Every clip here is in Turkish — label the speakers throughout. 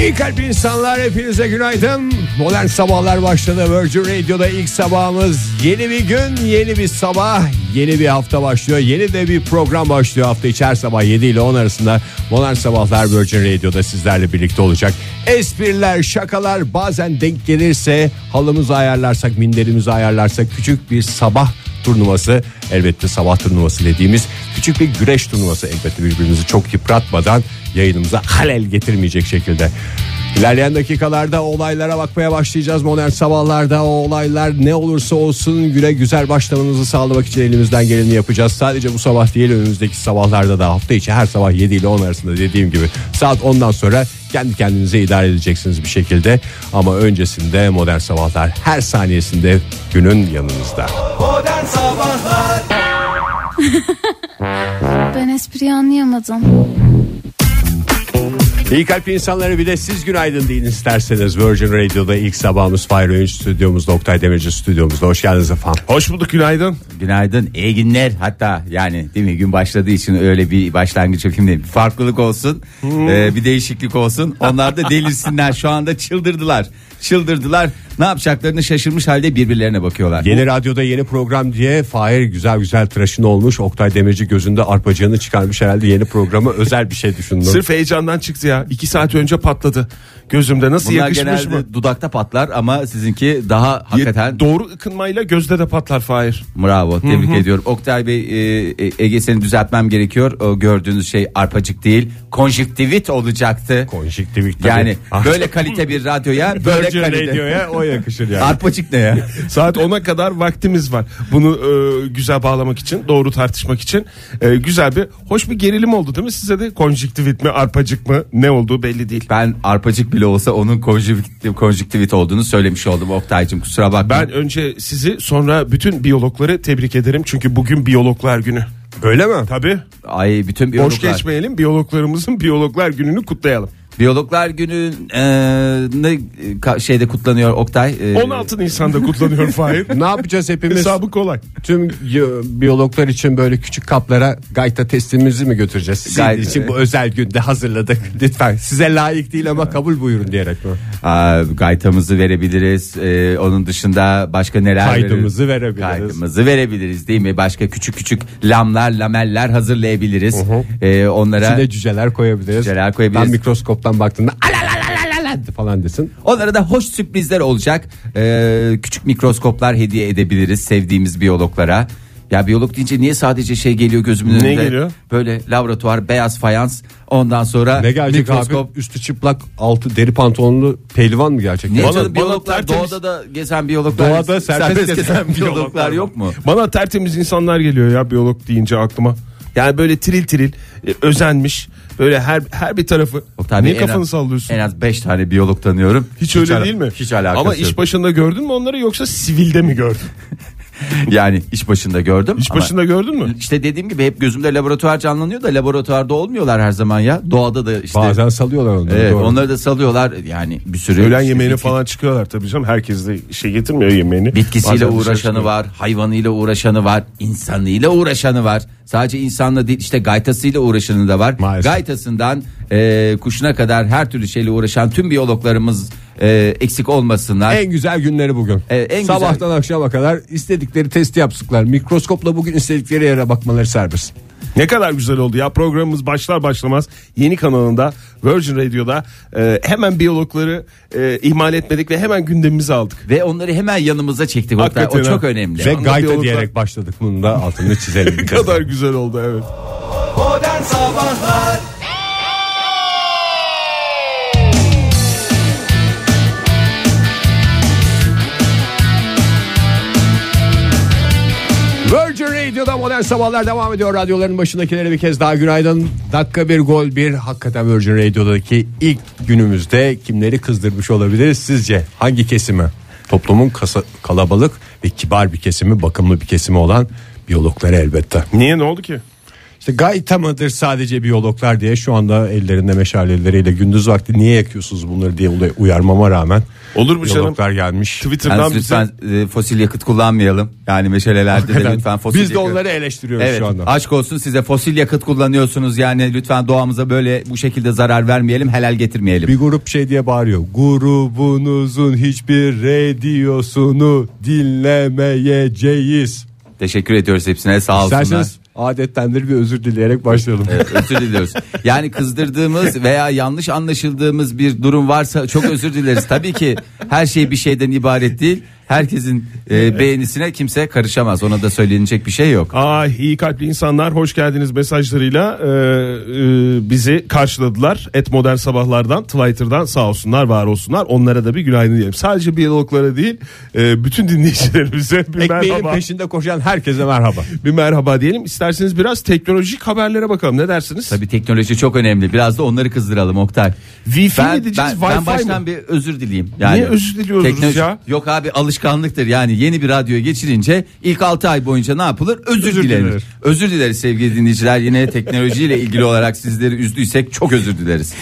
Speaker 1: İyi kalp insanlar hepinize günaydın. Modern sabahlar başladı. Virgin Radio'da ilk sabahımız. Yeni bir gün, yeni bir sabah, yeni bir hafta başlıyor. Yeni de bir program başlıyor hafta içi her sabah 7 ile 10 arasında. Modern sabahlar Virgin Radio'da sizlerle birlikte olacak. Espriler, şakalar bazen denk gelirse halımızı ayarlarsak, minderimizi ayarlarsak küçük bir sabah turnuvası elbette sabah turnuvası dediğimiz küçük bir güreş turnuvası elbette birbirimizi çok yıpratmadan yayınımıza halel getirmeyecek şekilde. İlerleyen dakikalarda olaylara bakmaya başlayacağız. Modern sabahlarda o olaylar ne olursa olsun güne güzel başlamanızı sağlamak için elimizden geleni yapacağız. Sadece bu sabah değil önümüzdeki sabahlarda da hafta içi her sabah 7 ile 10 arasında dediğim gibi saat 10'dan sonra kendi kendinize idare edeceksiniz bir şekilde. Ama öncesinde modern sabahlar her saniyesinde günün yanınızda.
Speaker 2: Modern Sabahlar
Speaker 3: Ben espriyi anlayamadım.
Speaker 1: İyi kalpli insanlara bir de siz günaydın deyin isterseniz. Virgin Radio'da ilk sabahımız Fire Öğünç stüdyomuzda Oktay Demirci stüdyomuzda. Hoş geldiniz efendim.
Speaker 4: Hoş bulduk günaydın.
Speaker 5: Günaydın, iyi günler hatta yani değil mi gün başladığı için öyle bir başlangıç yapayım dedim. Bir farklılık olsun,
Speaker 1: Hmm.
Speaker 5: e, bir değişiklik olsun. Onlar da delirsinler şu anda çıldırdılar. Çıldırdılar. Ne yapacaklarını şaşırmış halde birbirlerine bakıyorlar.
Speaker 1: Yeni radyoda yeni program diye Fahir güzel güzel tıraşını olmuş. Oktay Demirci gözünde arpacığını çıkarmış herhalde yeni programı özel bir şey düşündü.
Speaker 4: Sırf heyecandan çıktı ya. İki saat önce patladı. Gözümde nasıl
Speaker 5: Bunlar
Speaker 4: yakışmış
Speaker 5: genelde
Speaker 4: mı?
Speaker 5: dudakta patlar ama sizinki daha
Speaker 4: Ye-
Speaker 5: hakikaten
Speaker 4: Doğru ıkınmayla gözde de patlar Fahir.
Speaker 5: bravo. Tebrik ediyorum. Oktay Bey e, e, Ege seni düzeltmem gerekiyor. O gördüğünüz şey arpacık değil, konjüktivit olacaktı.
Speaker 1: Konjüktivit tabii.
Speaker 5: yani
Speaker 1: Ah.
Speaker 5: böyle kalite bir radyoya böyle
Speaker 1: Virgin
Speaker 5: kalite.
Speaker 1: Radio'ya o yakışır yani.
Speaker 5: Arpacık ne ya?
Speaker 4: Saat 10'a kadar vaktimiz var. Bunu e, güzel bağlamak için, doğru tartışmak için e, güzel bir, hoş bir gerilim oldu değil mi size de? Konjüktivit mi, arpacık mı ne olduğu belli değil.
Speaker 5: Ben arpacık bile olsa onun konjüktivit, konjüktivit olduğunu söylemiş oldum Oktay'cığım kusura bakma.
Speaker 4: Ben önce sizi sonra bütün biyologları tebrik ederim. Çünkü bugün biyologlar günü.
Speaker 1: Öyle mi?
Speaker 4: Tabii.
Speaker 5: Ay bütün
Speaker 4: Boş
Speaker 5: biyologlar.
Speaker 4: geçmeyelim. Biyologlarımızın biyologlar gününü kutlayalım.
Speaker 5: Biyologlar günü e, ne e, ka- şeyde kutlanıyor Oktay? E,
Speaker 4: 16 Nisan'da kutlanıyor Fahir.
Speaker 1: Ne yapacağız hepimiz?
Speaker 4: Hesabı kolay.
Speaker 1: Tüm yo- biyologlar için böyle küçük kaplara gayta testimizi mi götüreceğiz? Sizin
Speaker 5: Gayta,
Speaker 1: için bu özel günde hazırladık. Lütfen size layık değil ama kabul buyurun diyerek mi?
Speaker 5: Aa, gaytamızı verebiliriz. E, onun dışında başka neler
Speaker 1: Kaydımızı
Speaker 5: veririz?
Speaker 1: verebiliriz.
Speaker 5: Kaydımızı verebiliriz değil mi? Başka küçük küçük lamlar, lameller hazırlayabiliriz. E, onlara
Speaker 1: İçine cüceler koyabiliriz.
Speaker 5: Cüceler koyabiliriz.
Speaker 1: Ben mikroskoptan baktığımda "Alalalalala" falan desin.
Speaker 5: Onlara da hoş sürprizler olacak. Ee, küçük mikroskoplar hediye edebiliriz sevdiğimiz biyologlara. Ya biyolog deyince niye sadece şey geliyor gözümün önünde?
Speaker 4: geliyor?
Speaker 5: Böyle laboratuvar, beyaz fayans, ondan sonra
Speaker 1: Ne gelecek
Speaker 5: mikroskop.
Speaker 1: abi? Üstü çıplak, altı deri pantolonlu pehlivan mı gerçekten?
Speaker 5: Niye
Speaker 4: Bana-
Speaker 5: canım,
Speaker 4: bana
Speaker 5: biyologlar
Speaker 4: tertemiz-
Speaker 5: doğada da gezen biyologlar.
Speaker 1: Doğada serbest gezen
Speaker 5: biyologlar yok mu?
Speaker 4: Bana tertemiz insanlar geliyor ya biyolog deyince aklıma. Yani böyle tiril tiril e, özenmiş böyle her her bir tarafı.
Speaker 5: Oktay Bey,
Speaker 4: Niye
Speaker 5: en
Speaker 4: kafanı
Speaker 5: az-
Speaker 4: sallıyorsun?
Speaker 5: En az 5 tane biyolog tanıyorum.
Speaker 4: hiç öyle
Speaker 5: ala-
Speaker 4: değil mi?
Speaker 5: Hiç alakası
Speaker 4: Ama
Speaker 5: yok.
Speaker 4: iş başında gördün mü onları yoksa sivilde mi gördün?
Speaker 5: Yani iş başında gördüm.
Speaker 4: İş
Speaker 5: ama-
Speaker 4: başında gördün mü?
Speaker 5: İşte dediğim gibi hep gözümde laboratuvar canlanıyor da laboratuvarda olmuyorlar her zaman ya. Doğada da işte.
Speaker 1: Bazen salıyorlar onları.
Speaker 5: Evet,
Speaker 1: doğru.
Speaker 5: onları da salıyorlar yani bir sürü.
Speaker 4: Öğlen
Speaker 5: işte
Speaker 4: yemeğine
Speaker 5: bitki-
Speaker 4: falan çıkıyorlar tabii canım. Herkes de şey getirmiyor yemeğini.
Speaker 5: Bitkisiyle
Speaker 4: Bazen dışarı
Speaker 5: uğraşanı
Speaker 4: çıkıyor.
Speaker 5: var, hayvanıyla uğraşanı var, insanıyla uğraşanı var. Sadece insanla değil işte gaytasıyla uğraşanı da var.
Speaker 1: Maalesef.
Speaker 5: Gaytasından e, kuşuna kadar her türlü şeyle uğraşan tüm biyologlarımız e, eksik olmasınlar.
Speaker 1: En güzel günleri bugün.
Speaker 5: Evet, en güzel-
Speaker 1: Sabahtan akşama kadar istedikleri testi yapsınlar. Mikroskopla bugün istedikleri yere bakmaları serbest.
Speaker 4: Ne kadar güzel oldu ya programımız başlar başlamaz yeni kanalında Virgin Radio'da e, hemen biyologları e, ihmal etmedik ve hemen gündemimize aldık.
Speaker 5: Ve onları hemen yanımıza çektik. Oktay.
Speaker 4: Hakikaten
Speaker 5: O çok
Speaker 4: ha.
Speaker 5: önemli.
Speaker 1: Ve
Speaker 4: anda
Speaker 1: gayta
Speaker 4: biyologlar-
Speaker 1: diyerek başladık. Bunun da altını çizelim.
Speaker 4: Ne kadar güzel oldu evet.
Speaker 2: Modern Sabahlar
Speaker 1: Virgin Radio'da modern sabahlar devam ediyor. Radyoların başındakilere bir kez daha günaydın. Dakika bir gol bir. Hakikaten Virgin Radio'daki ilk günümüzde kimleri kızdırmış olabiliriz sizce? Hangi kesimi? Toplumun kasa- kalabalık ve kibar bir kesimi, bakımlı bir kesimi olan biyologları elbette.
Speaker 4: Niye ne oldu ki?
Speaker 1: İşte gayta mıdır sadece biyologlar diye şu anda ellerinde meşaleleriyle gündüz vakti niye yakıyorsunuz bunları diye ulay- uyarmama rağmen
Speaker 4: Olur mu canım?
Speaker 1: biyologlar gelmiş.
Speaker 4: Twitter'dan
Speaker 5: Yani
Speaker 4: bize-
Speaker 5: lütfen e, fosil yakıt kullanmayalım. Yani meşalelerde de
Speaker 1: Hakikaten.
Speaker 5: lütfen fosil
Speaker 1: Biz de
Speaker 5: yakıt-
Speaker 1: onları eleştiriyoruz
Speaker 5: Evet
Speaker 1: şu anda.
Speaker 5: aşk olsun size fosil yakıt kullanıyorsunuz yani lütfen doğamıza böyle bu şekilde zarar vermeyelim helal getirmeyelim.
Speaker 1: Bir grup şey diye bağırıyor. Grubunuzun hiçbir radyosunu dinlemeyeceğiz.
Speaker 5: Teşekkür ediyoruz hepsine sağ olsunlar.
Speaker 1: İsterseniz adettendir bir özür dileyerek başlayalım.
Speaker 5: Özür diliyoruz. Yani kızdırdığımız veya yanlış anlaşıldığımız bir durum varsa çok özür dileriz. Tabii ki her şey bir şeyden ibaret değil. Herkesin e, beğenisine kimse karışamaz. Ona da söylenecek bir şey yok.
Speaker 4: Aa iyi kalpli insanlar hoş geldiniz mesajlarıyla e, e, bizi karşıladılar. Et modern sabahlardan Twitter'dan sağ olsunlar var olsunlar. Onlara da bir günaydın diyelim. Sadece biyologlara değil e, bütün dinleyicilerimize bir
Speaker 1: Ekmeğin
Speaker 4: merhaba.
Speaker 1: peşinde koşan herkese merhaba.
Speaker 4: Bir merhaba diyelim. İsterseniz biraz teknolojik haberlere bakalım. Ne dersiniz?
Speaker 5: Tabii teknoloji çok önemli. Biraz da onları kızdıralım Oktay.
Speaker 4: Wi-Fi mi
Speaker 5: ben,
Speaker 4: diyeceğiz,
Speaker 5: ben,
Speaker 4: Wi-Fi
Speaker 5: ben baştan
Speaker 4: mi?
Speaker 5: bir özür dileyeyim. Yani
Speaker 4: Niye özür diliyoruz ya?
Speaker 5: Yok abi alışkanlıktır. Yani yeni bir radyoya geçirince ilk 6 ay boyunca ne yapılır? Özür,
Speaker 4: Özür
Speaker 5: dilenir.
Speaker 4: dilenir.
Speaker 5: Özür dileriz sevgili dinleyiciler. Yine teknolojiyle ilgili olarak sizleri üzdüysek çok özür dileriz.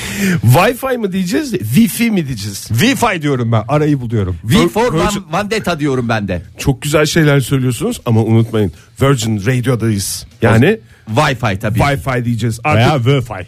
Speaker 4: Wi-Fi mi diyeceğiz? Wi-Fi mi diyeceğiz?
Speaker 1: Wi-Fi diyorum ben arayı buluyorum.
Speaker 5: V for
Speaker 4: Virgin-
Speaker 5: Van- Vendetta diyorum ben de.
Speaker 4: Çok güzel şeyler söylüyorsunuz ama unutmayın. Virgin Radio'dayız. Yani
Speaker 5: Wi-Fi tabii.
Speaker 4: Wi-Fi diyeceğiz. Artık
Speaker 1: Veya Wi-Fi.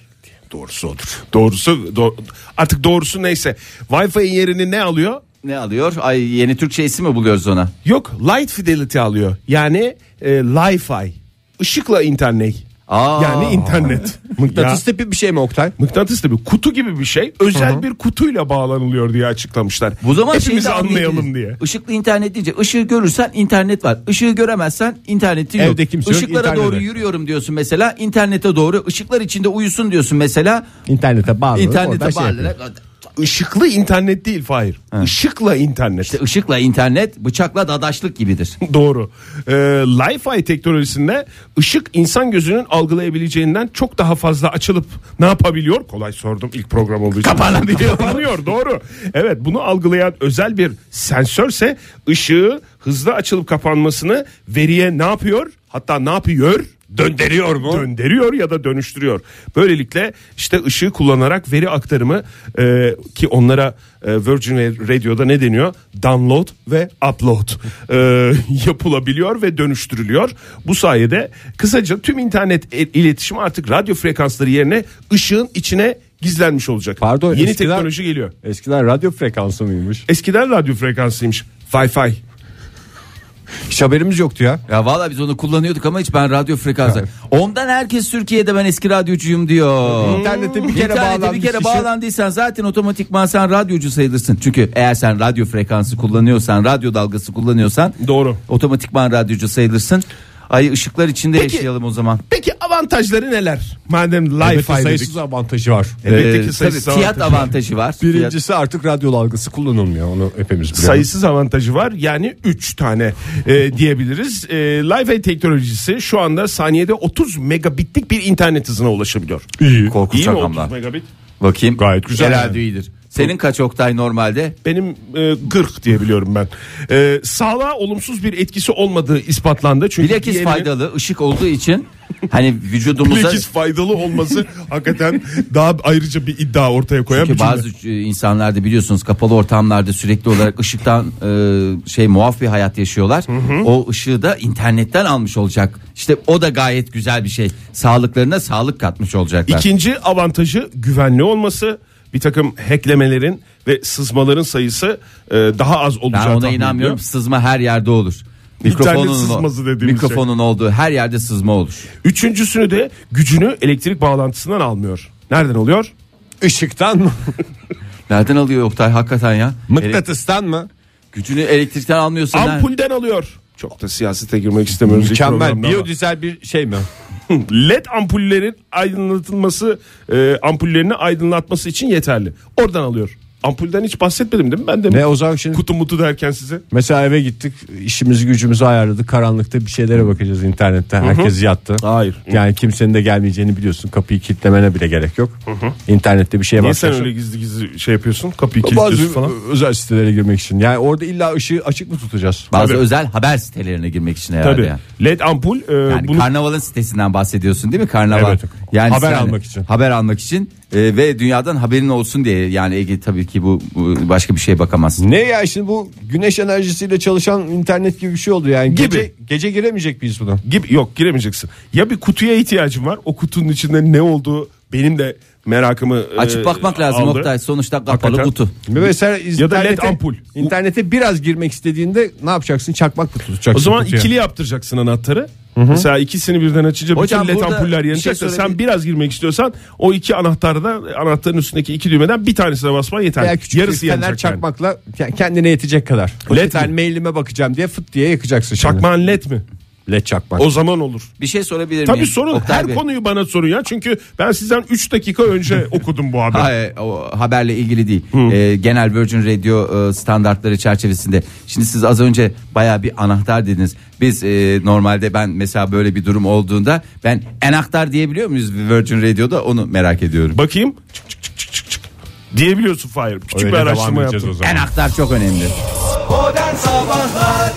Speaker 4: Doğrusu odur. Doğrusu do- artık doğrusu neyse. Wi-Fi'nin yerini ne alıyor?
Speaker 5: Ne alıyor? Ay yeni Türkçe isim mi buluyoruz ona?
Speaker 4: Yok light fidelity alıyor. Yani e, Li-Fi. Işıkla internet.
Speaker 5: Aa.
Speaker 4: Yani internet.
Speaker 1: Mıknatıs tipi bir şey mi Oktay?
Speaker 4: Mıknatıs tabii kutu gibi bir şey. Özel bir kutuyla bağlanılıyor diye açıklamışlar.
Speaker 5: Bu zaman şeyi
Speaker 4: Hepimiz
Speaker 5: de
Speaker 4: anlayalım
Speaker 5: anlayabiliriz.
Speaker 4: diye.
Speaker 5: Işıklı internet deyince ışığı görürsen internet var. Işığı göremezsen interneti yok.
Speaker 1: Evde kimse yok,
Speaker 5: Işıklara
Speaker 1: internet
Speaker 5: doğru
Speaker 1: yok.
Speaker 5: yürüyorum diyorsun mesela. internete doğru. Işıklar içinde uyusun diyorsun mesela.
Speaker 1: İnternete bağlı. şey
Speaker 5: İnternete bağlanarak
Speaker 4: Işıklı internet değil Fahir. Işıkla internet.
Speaker 5: İşte ışıkla internet bıçakla dadaşlık gibidir.
Speaker 4: Doğru. Ee, Li-Fi teknolojisinde ışık insan gözünün algılayabileceğinden çok daha fazla açılıp ne yapabiliyor? Kolay sordum ilk program olduğu için. Kapanıyor. Kapanıyor doğru. Evet bunu algılayan özel bir sensörse ışığı hızlı açılıp kapanmasını veriye ne yapıyor? Hatta ne yapıyor? Döndürüyor mu? Döndürüyor ya da dönüştürüyor. Böylelikle işte ışığı kullanarak veri aktarımı e, ki onlara e, Virgin Radio'da ne deniyor? Download ve upload e, yapılabiliyor ve dönüştürülüyor. Bu sayede kısaca tüm internet e- iletişimi artık radyo frekansları yerine ışığın içine gizlenmiş olacak.
Speaker 1: Pardon,
Speaker 4: Yeni
Speaker 1: eskiden-
Speaker 4: teknoloji geliyor.
Speaker 1: Eskiden radyo frekansı mıymış?
Speaker 4: Eskiden radyo frekansıymış. Wi-Fi.
Speaker 1: Hiç haberimiz yoktu ya.
Speaker 5: Ya valla biz onu kullanıyorduk ama hiç ben radyo frekansı. Ondan herkes Türkiye'de ben eski radyocuyum diyor.
Speaker 1: İnternete bir kere
Speaker 5: İnternete
Speaker 1: bağlanmış
Speaker 5: bir kere
Speaker 1: kişi-
Speaker 5: bağlandıysan zaten otomatikman sen radyocu sayılırsın. Çünkü eğer sen radyo frekansı kullanıyorsan, radyo dalgası kullanıyorsan
Speaker 4: Doğru.
Speaker 5: otomatikman radyocu sayılırsın. Ay ışıklar içinde yaşayalım o zaman.
Speaker 4: Peki avantajları neler? Madem
Speaker 1: Elbette
Speaker 4: Li-Fi dedik.
Speaker 1: sayısız avantajı var.
Speaker 4: Elbette ki
Speaker 5: Ee,
Speaker 4: sayısız
Speaker 5: tabii fiyat avantajı var. Fiyat-
Speaker 1: Birincisi artık radyo dalgası kullanılmıyor. Onu hepimiz biliyoruz.
Speaker 4: sayısız avantajı var. Yani 3 tane e, diyebiliriz. E, Live teknolojisi şu anda saniyede 30 megabitlik bir internet hızına ulaşabiliyor.
Speaker 1: iyi.
Speaker 5: Korkunç
Speaker 4: İyi mi
Speaker 5: rakamlar.
Speaker 4: 30 megabit?
Speaker 5: Bakayım.
Speaker 1: Gayet güzel
Speaker 5: Herhalde
Speaker 1: yani.
Speaker 5: iyidir. Senin kaç Oktay normalde?
Speaker 4: Benim e, 40 diye biliyorum ben. E, sağlığa olumsuz bir etkisi olmadığı ispatlandı. Çünkü
Speaker 5: Bilakis
Speaker 4: diğerinin-
Speaker 5: faydalı ışık olduğu için hani vücudumuza
Speaker 4: Bilakis faydalı olması hakikaten daha ayrıca bir iddia ortaya koyan
Speaker 5: Çünkü
Speaker 4: bir şey. cümle.
Speaker 5: bazı e, insanlar da biliyorsunuz kapalı ortamlarda sürekli olarak ışıktan e, şey muaf bir hayat yaşıyorlar. O ışığı da internetten almış olacak. İşte o da gayet güzel bir şey. Sağlıklarına sağlık katmış olacaklar.
Speaker 4: İkinci avantajı güvenli olması. Bir takım hacklemelerin ve sızmaların sayısı e, daha az olacağı
Speaker 5: ben ona
Speaker 4: tahmin
Speaker 5: inanmıyorum.
Speaker 4: ediliyor.
Speaker 5: Sızma her yerde olur.
Speaker 4: İnternet sızması dediğimiz şey.
Speaker 5: mikrofonun olduğu her yerde sızma olur.
Speaker 4: Üçüncüsünü de gücünü elektrik bağlantısından almıyor. Nereden oluyor?
Speaker 1: Işıktan mı?
Speaker 5: Nereden alıyor Oktay hakikaten ya? Ele-
Speaker 1: Mıknatıstan mı?
Speaker 5: gücünü elektrikten almıyorsun.
Speaker 4: Ampulden alıyor. Çok da siyasete girmek istemiyoruz. ilk
Speaker 1: Mükemmel.
Speaker 4: programda ama.
Speaker 1: Biyodizel bir şey mi?
Speaker 4: LED ampullerin aydınlatılması, e, ampullerini aydınlatması için yeterli. Oradan alıyor. Ampulden hiç bahsetmedim değil mi? Ben de
Speaker 1: Ne o zaman şimdi
Speaker 4: kutu mutu derken size.
Speaker 1: mesela eve gittik işimizi gücümüzü ayarladık karanlıkta bir şeylere bakacağız internette herkes yattı.
Speaker 4: Hayır.
Speaker 1: Yani kimsenin de gelmeyeceğini biliyorsun kapıyı kilitlemene bile gerek yok. İnternette bir şeye
Speaker 4: Niye sen
Speaker 1: bakıyorsun.
Speaker 4: öyle gizli gizli şey yapıyorsun? Kapıyı
Speaker 1: Bazı
Speaker 4: kilitliyorsun falan.
Speaker 1: özel sitelere girmek için. Yani orada illa ışığı açık mı tutacağız?
Speaker 5: Bazı
Speaker 4: Tabii.
Speaker 5: özel haber sitelerine girmek için herhalde.
Speaker 4: Tabii.
Speaker 5: yani.
Speaker 4: LED ampul e,
Speaker 5: Yani
Speaker 4: bunu
Speaker 5: karnavalın sitesinden bahsediyorsun değil mi? Karnaval.
Speaker 1: Evet.
Speaker 5: Yani
Speaker 1: Haber
Speaker 5: sen-
Speaker 1: almak için.
Speaker 5: Haber almak için e, ve dünyadan haberin olsun diye. Yani Ege tabii ki bu, bu başka bir şeye bakamaz.
Speaker 1: Ne ya şimdi bu güneş enerjisiyle çalışan internet gibi bir şey oldu yani.
Speaker 4: Gibi.
Speaker 1: Gece, gece giremeyecek miyiz buna?
Speaker 4: gibi yok giremeyeceksin. Ya bir kutuya ihtiyacın var. O kutunun içinde ne olduğu benim de merakımı e,
Speaker 5: Açıp bakmak lazım
Speaker 4: aldı.
Speaker 5: Oktay. Sonuçta kapalı
Speaker 4: Hakikaten.
Speaker 5: kutu.
Speaker 1: Mesela
Speaker 4: Ya da led
Speaker 1: internete-
Speaker 4: ampul.
Speaker 1: İnternete biraz girmek istediğinde ne yapacaksın? Çakmak mı tutacaksın?
Speaker 4: O zaman
Speaker 1: kutuya?
Speaker 4: ikili yaptıracaksın anahtarı. Mesela ikisini birden açınca
Speaker 5: Hocam
Speaker 4: bütün led
Speaker 5: burada
Speaker 4: ampuller
Speaker 5: bir
Speaker 4: yanacak
Speaker 5: şey
Speaker 4: da sen
Speaker 5: söyleyeyim.
Speaker 4: biraz girmek istiyorsan o iki anahtarda anahtarın üstündeki iki düğmeden bir tanesine basman yeterli.
Speaker 1: Veya küçük
Speaker 4: Yarısı
Speaker 1: bir fener
Speaker 4: yanacak. Çakma.
Speaker 1: çakmakla ke- kendine yetecek kadar. O
Speaker 4: Led
Speaker 1: yüzden
Speaker 4: mi?
Speaker 1: mailime bakacağım diye fıt diye yakacaksın. şimdi.
Speaker 4: Çakmağın led mi?
Speaker 1: Led çakmak.
Speaker 4: O zaman olur.
Speaker 5: Bir şey sorabilir miyim?
Speaker 4: Tabii sorun.
Speaker 5: Oktay
Speaker 4: Her
Speaker 5: Bey.
Speaker 4: konuyu bana sorun ya. Çünkü ben sizden 3 dakika önce okudum bu haberi.
Speaker 5: Hayır, o haberle ilgili değil. Ee, genel Virgin Radio e, standartları çerçevesinde. Şimdi siz az önce baya bir anahtar dediniz. Biz e, normalde ben mesela böyle bir durum olduğunda ben anahtar diyebiliyor muyuz Virgin Radio'da onu merak ediyorum.
Speaker 4: Bakayım. Çık çık çık çık çık çık. Diyebiliyorsun Fahir. Küçük
Speaker 1: Öyle
Speaker 4: bir
Speaker 1: devam
Speaker 4: araştırma
Speaker 1: edeceğiz
Speaker 4: yaptım.
Speaker 1: o zaman.
Speaker 5: Anahtar çok önemli.
Speaker 2: Modern Sabahlar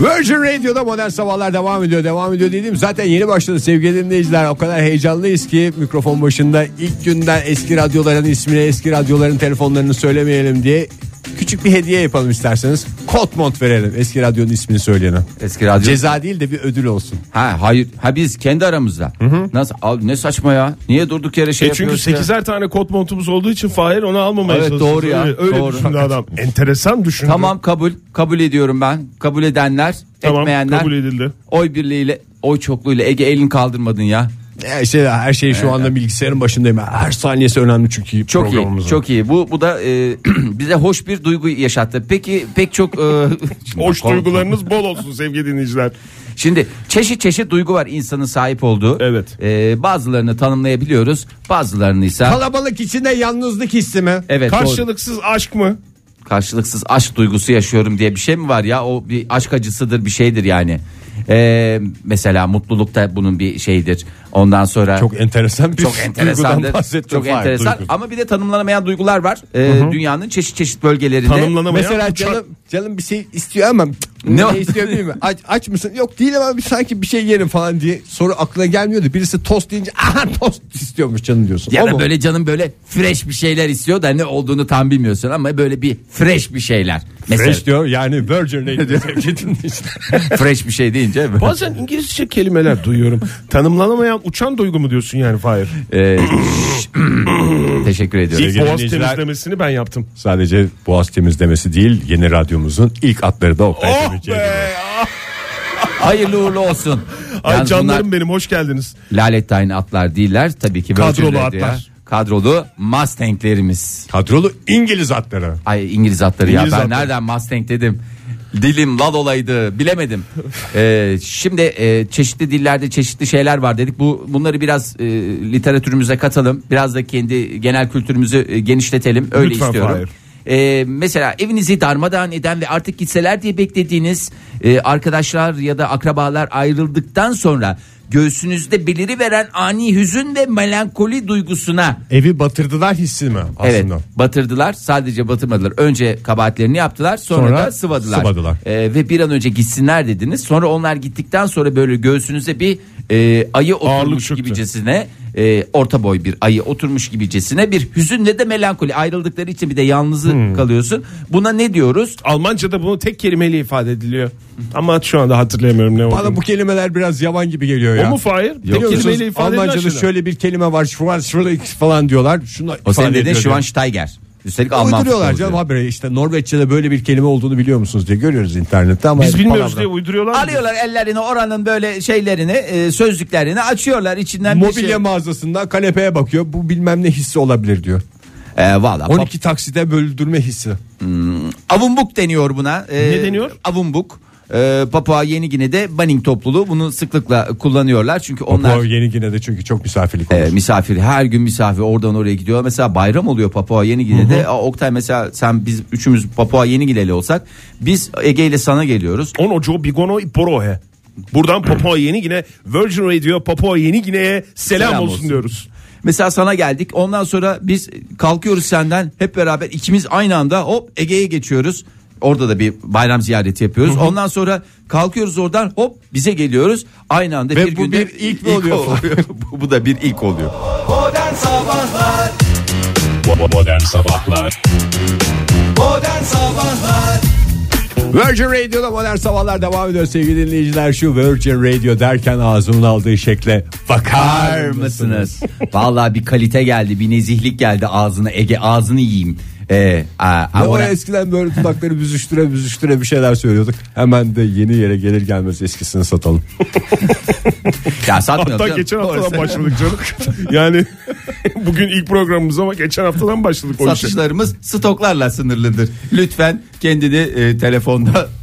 Speaker 1: Virgin Radio'da modern sabahlar devam ediyor. Devam ediyor dedim. Zaten yeni başladı sevgili dinleyiciler. O kadar heyecanlıyız ki mikrofon başında ilk günden eski radyoların ismini, eski radyoların telefonlarını söylemeyelim diye küçük bir hediye yapalım isterseniz. Kot mont verelim eski radyonun ismini söyleyene.
Speaker 5: Eski radyo.
Speaker 1: Ceza değil de bir ödül olsun.
Speaker 5: Ha hayır. Ha biz kendi aramızda. Nasıl al ne saçma ya? Niye durduk yere şey
Speaker 4: E çünkü
Speaker 5: yapıyoruz? ya?
Speaker 4: 8'er tane kot montumuz olduğu için Fahir onu almamaya
Speaker 5: Evet,
Speaker 4: çalışıyor.
Speaker 5: doğru ya,
Speaker 4: Öyle, öyle
Speaker 5: doğru.
Speaker 4: düşündü adam. Enteresan düşündü.
Speaker 5: Tamam kabul. Kabul ediyorum ben. Kabul edenler,
Speaker 4: Tamam,
Speaker 5: etmeyenler.
Speaker 4: kabul edildi.
Speaker 5: Oy birliğiyle, oy çokluğuyla Ege elini kaldırmadın ya.
Speaker 1: Her şey, her şey şu anda bilgisayarın başındayım. Her saniyesi önemli çünkü
Speaker 5: Çok iyi,
Speaker 1: programımızın.
Speaker 5: çok iyi. Bu bu da e, bize hoş bir duygu yaşattı. Peki pek çok e,
Speaker 4: Hoş duygularınız bol olsun sevgili dinleyiciler.
Speaker 5: Şimdi çeşit çeşit duygu var insanın sahip olduğu.
Speaker 4: Evet.
Speaker 5: E, bazılarını tanımlayabiliyoruz, bazılarını ise
Speaker 1: Kalabalık içinde yalnızlık hissi mi?
Speaker 5: evet doğru.
Speaker 4: Karşılıksız aşk mı?
Speaker 5: karşılıksız aşk duygusu yaşıyorum diye bir şey mi var ya? O bir aşk acısıdır, bir şeydir yani. E, mesela mutluluk da bunun bir şeyidir. Ondan sonra
Speaker 1: Çok enteresan bir
Speaker 5: çok enteresandır.
Speaker 1: duygudan bahsettin.
Speaker 5: Çok
Speaker 1: Hayır,
Speaker 5: enteresan
Speaker 1: duygu.
Speaker 5: ama bir de tanımlanamayan duygular var. E, dünyanın çeşit çeşit bölgelerinde.
Speaker 4: Tanımlanamayan
Speaker 1: Mesela
Speaker 4: uçak-
Speaker 1: canım canım bir şey istiyor ama
Speaker 5: Ne
Speaker 1: ne,
Speaker 5: var?
Speaker 1: istiyor bilmiyorum. Aç, aç mısın? Yok değil ama bir, sanki bir şey yerim falan diye soru aklına gelmiyordu. Birisi tost deyince aha tost istiyormuş canım diyorsun.
Speaker 5: Ya
Speaker 1: O
Speaker 5: da
Speaker 1: mu?
Speaker 5: böyle canım böyle fresh bir şeyler istiyor da ne olduğunu tam bilmiyorsun ama böyle bir fresh bir şeyler. Mesela
Speaker 1: Fresh
Speaker 5: fresh,
Speaker 1: diyor yani Virgin neydi sevgilin işte.
Speaker 5: bir şey deyince böyle,
Speaker 4: Bazen İngilizce kelimeler duyuyorum. Tanımlanamayan uçan duygu mu diyorsun yani Fahir?
Speaker 5: e, teşekkür ediyorum.
Speaker 4: İlk
Speaker 1: Sevgili
Speaker 4: boğaz
Speaker 1: dinleyiciler-
Speaker 4: temizlemesini ben yaptım.
Speaker 1: Sadece boğaz temizlemesi değil yeni radyomuzun ilk atları da Oktay
Speaker 4: Oh
Speaker 1: Demirci'ye
Speaker 4: be!
Speaker 5: Hayırlı uğurlu olsun.
Speaker 4: Ay
Speaker 5: Yalnız
Speaker 4: canlarım
Speaker 5: bunlar
Speaker 4: benim hoş geldiniz.
Speaker 5: lalet tayin atlar değiller tabii ki.
Speaker 4: Kadrolu
Speaker 5: Virgin Radio ya.
Speaker 4: atlar.
Speaker 5: Kadrolu Mustang'lerimiz.
Speaker 1: Kadrolu İngiliz atları.
Speaker 5: Ay İngiliz atları
Speaker 4: İngiliz
Speaker 5: ya ben
Speaker 4: atları.
Speaker 5: nereden Mustang dedim. Dilim lal olaydı bilemedim. Ee, şimdi e, çeşitli dillerde çeşitli şeyler var dedik. Bu bunları biraz e, literatürümüze katalım. Biraz da kendi genel kültürümüzü e, genişletelim. Öyle
Speaker 4: Lütfen
Speaker 5: istiyorum.
Speaker 4: Fahir.
Speaker 5: Ee, mesela evinizi darmadağın eden ve artık gitseler diye beklediğiniz e, arkadaşlar ya da akrabalar ayrıldıktan sonra göğsünüzde beliri veren ani hüzün ve melankoli duygusuna
Speaker 1: Evi batırdılar hissi mi aslında?
Speaker 5: Evet batırdılar sadece batırmadılar önce kabahatlerini yaptılar sonra,
Speaker 1: Sonra
Speaker 5: da sıvadılar,
Speaker 1: sıvadılar.
Speaker 5: Ee, ve bir an önce gitsinler dediniz sonra onlar gittikten sonra böyle göğsünüze bir e, ayı oturmuş
Speaker 4: çöktü.
Speaker 5: gibicesine e, orta boy bir ayı oturmuş gibicesine bir hüzünle de melankoli ayrıldıkları için bir de yalnız
Speaker 1: Hmm.
Speaker 5: kalıyorsun buna ne diyoruz
Speaker 4: Almanca'da bunu tek kelimeyle ifade ediliyor. Ama şu anda hatırlayamıyorum ne
Speaker 1: Bana
Speaker 4: olduğunu.
Speaker 1: bu kelimeler biraz yavan gibi geliyor
Speaker 4: O
Speaker 1: ya.
Speaker 4: mu Fahir? Tek
Speaker 1: Biliyor musunuz,
Speaker 4: kelimeyle ifade edilen şey
Speaker 1: Almanca'da
Speaker 4: şeyler.
Speaker 1: şöyle bir kelime var Schwarzschweilig falan diyorlar. Şunu
Speaker 5: o senin
Speaker 1: ifade
Speaker 5: dediğin
Speaker 1: ediyor diyor.
Speaker 5: Schweinsteiger üstelik Alman
Speaker 1: Uyduruyorlar
Speaker 5: futbolcu.
Speaker 1: canım haberi işte Norveççe'de böyle bir kelime olduğunu biliyor musunuz diye görüyoruz internette ama
Speaker 4: Biz
Speaker 1: yani
Speaker 4: bilmiyoruz
Speaker 1: palavra.
Speaker 4: diye uyduruyorlar. mı?
Speaker 5: Alıyorlar ellerini oranın böyle şeylerini e, sözlüklerini açıyorlar içinden bir
Speaker 1: Mobilya
Speaker 5: şey.
Speaker 1: mağazasından kanepeye bakıyor. Bu bilmem ne hissi olabilir diyor.
Speaker 5: E, valla
Speaker 1: 12 takside böldürme hissi.
Speaker 5: Avumbuk deniyor buna. Ee,
Speaker 4: Ne deniyor?
Speaker 5: Avumbuk. Ee, Papua Yeni Gine'de Banning topluluğu bunu sıklıkla kullanıyorlar. Çünkü onlar
Speaker 1: Onlar... Yeni Gine'de çünkü çok misafirlik olur.
Speaker 5: e, misafir her gün misafir oradan oraya gidiyor. Mesela bayram oluyor Papua Yeni Gine'de. Aa, Oktay mesela sen biz üçümüz Papua Yeni Gine'li olsak biz Ege ile sana geliyoruz.
Speaker 4: Ono Joe Bigono Iporohe. Buradan Papua Yeni Gine Virgin Radio Papua Yeni Gine'ye selam,
Speaker 5: Selam
Speaker 4: olsun,
Speaker 5: olsun.
Speaker 4: diyoruz.
Speaker 5: Mesela sana geldik. Ondan sonra biz kalkıyoruz senden hep beraber ikimiz aynı anda hop Ege'ye geçiyoruz. Orada da bir bayram ziyareti yapıyoruz. Ondan sonra kalkıyoruz oradan hop bize geliyoruz. Aynı anda
Speaker 1: Ve
Speaker 5: bir
Speaker 1: bu
Speaker 5: günde
Speaker 1: bir ilk mi oluyor?
Speaker 5: Bu- bu da bir ilk oluyor.
Speaker 2: Modern Sabahlar
Speaker 6: Modern Sabahlar
Speaker 2: Modern Sabahlar
Speaker 1: Virgin Radio'da modern sabahlar devam ediyor sevgili dinleyiciler. Şu Virgin Radio derken ağzımın aldığı şekle bakar
Speaker 5: Var
Speaker 1: mısınız?
Speaker 5: mısınız? Vallahi bir kalite geldi, bir nezihlik geldi ağzına. Ege ağzını yiyeyim. Ee, a, a-
Speaker 1: Ama
Speaker 5: ona-
Speaker 1: eskiden böyle dudakları büzüştüre büzüştüre bir şeyler söylüyorduk. Hemen de yeni yere gelir gelmez eskisini satalım.
Speaker 5: ya satmıyorum
Speaker 4: Hatta
Speaker 5: canım.
Speaker 4: geçen haftadan
Speaker 5: Doğrusu.
Speaker 4: başladık canım. yani bugün ilk programımız ama geçen haftadan başladık o işe.
Speaker 5: Satışlarımız stoklarla sınırlıdır. Lütfen kendini e, telefonda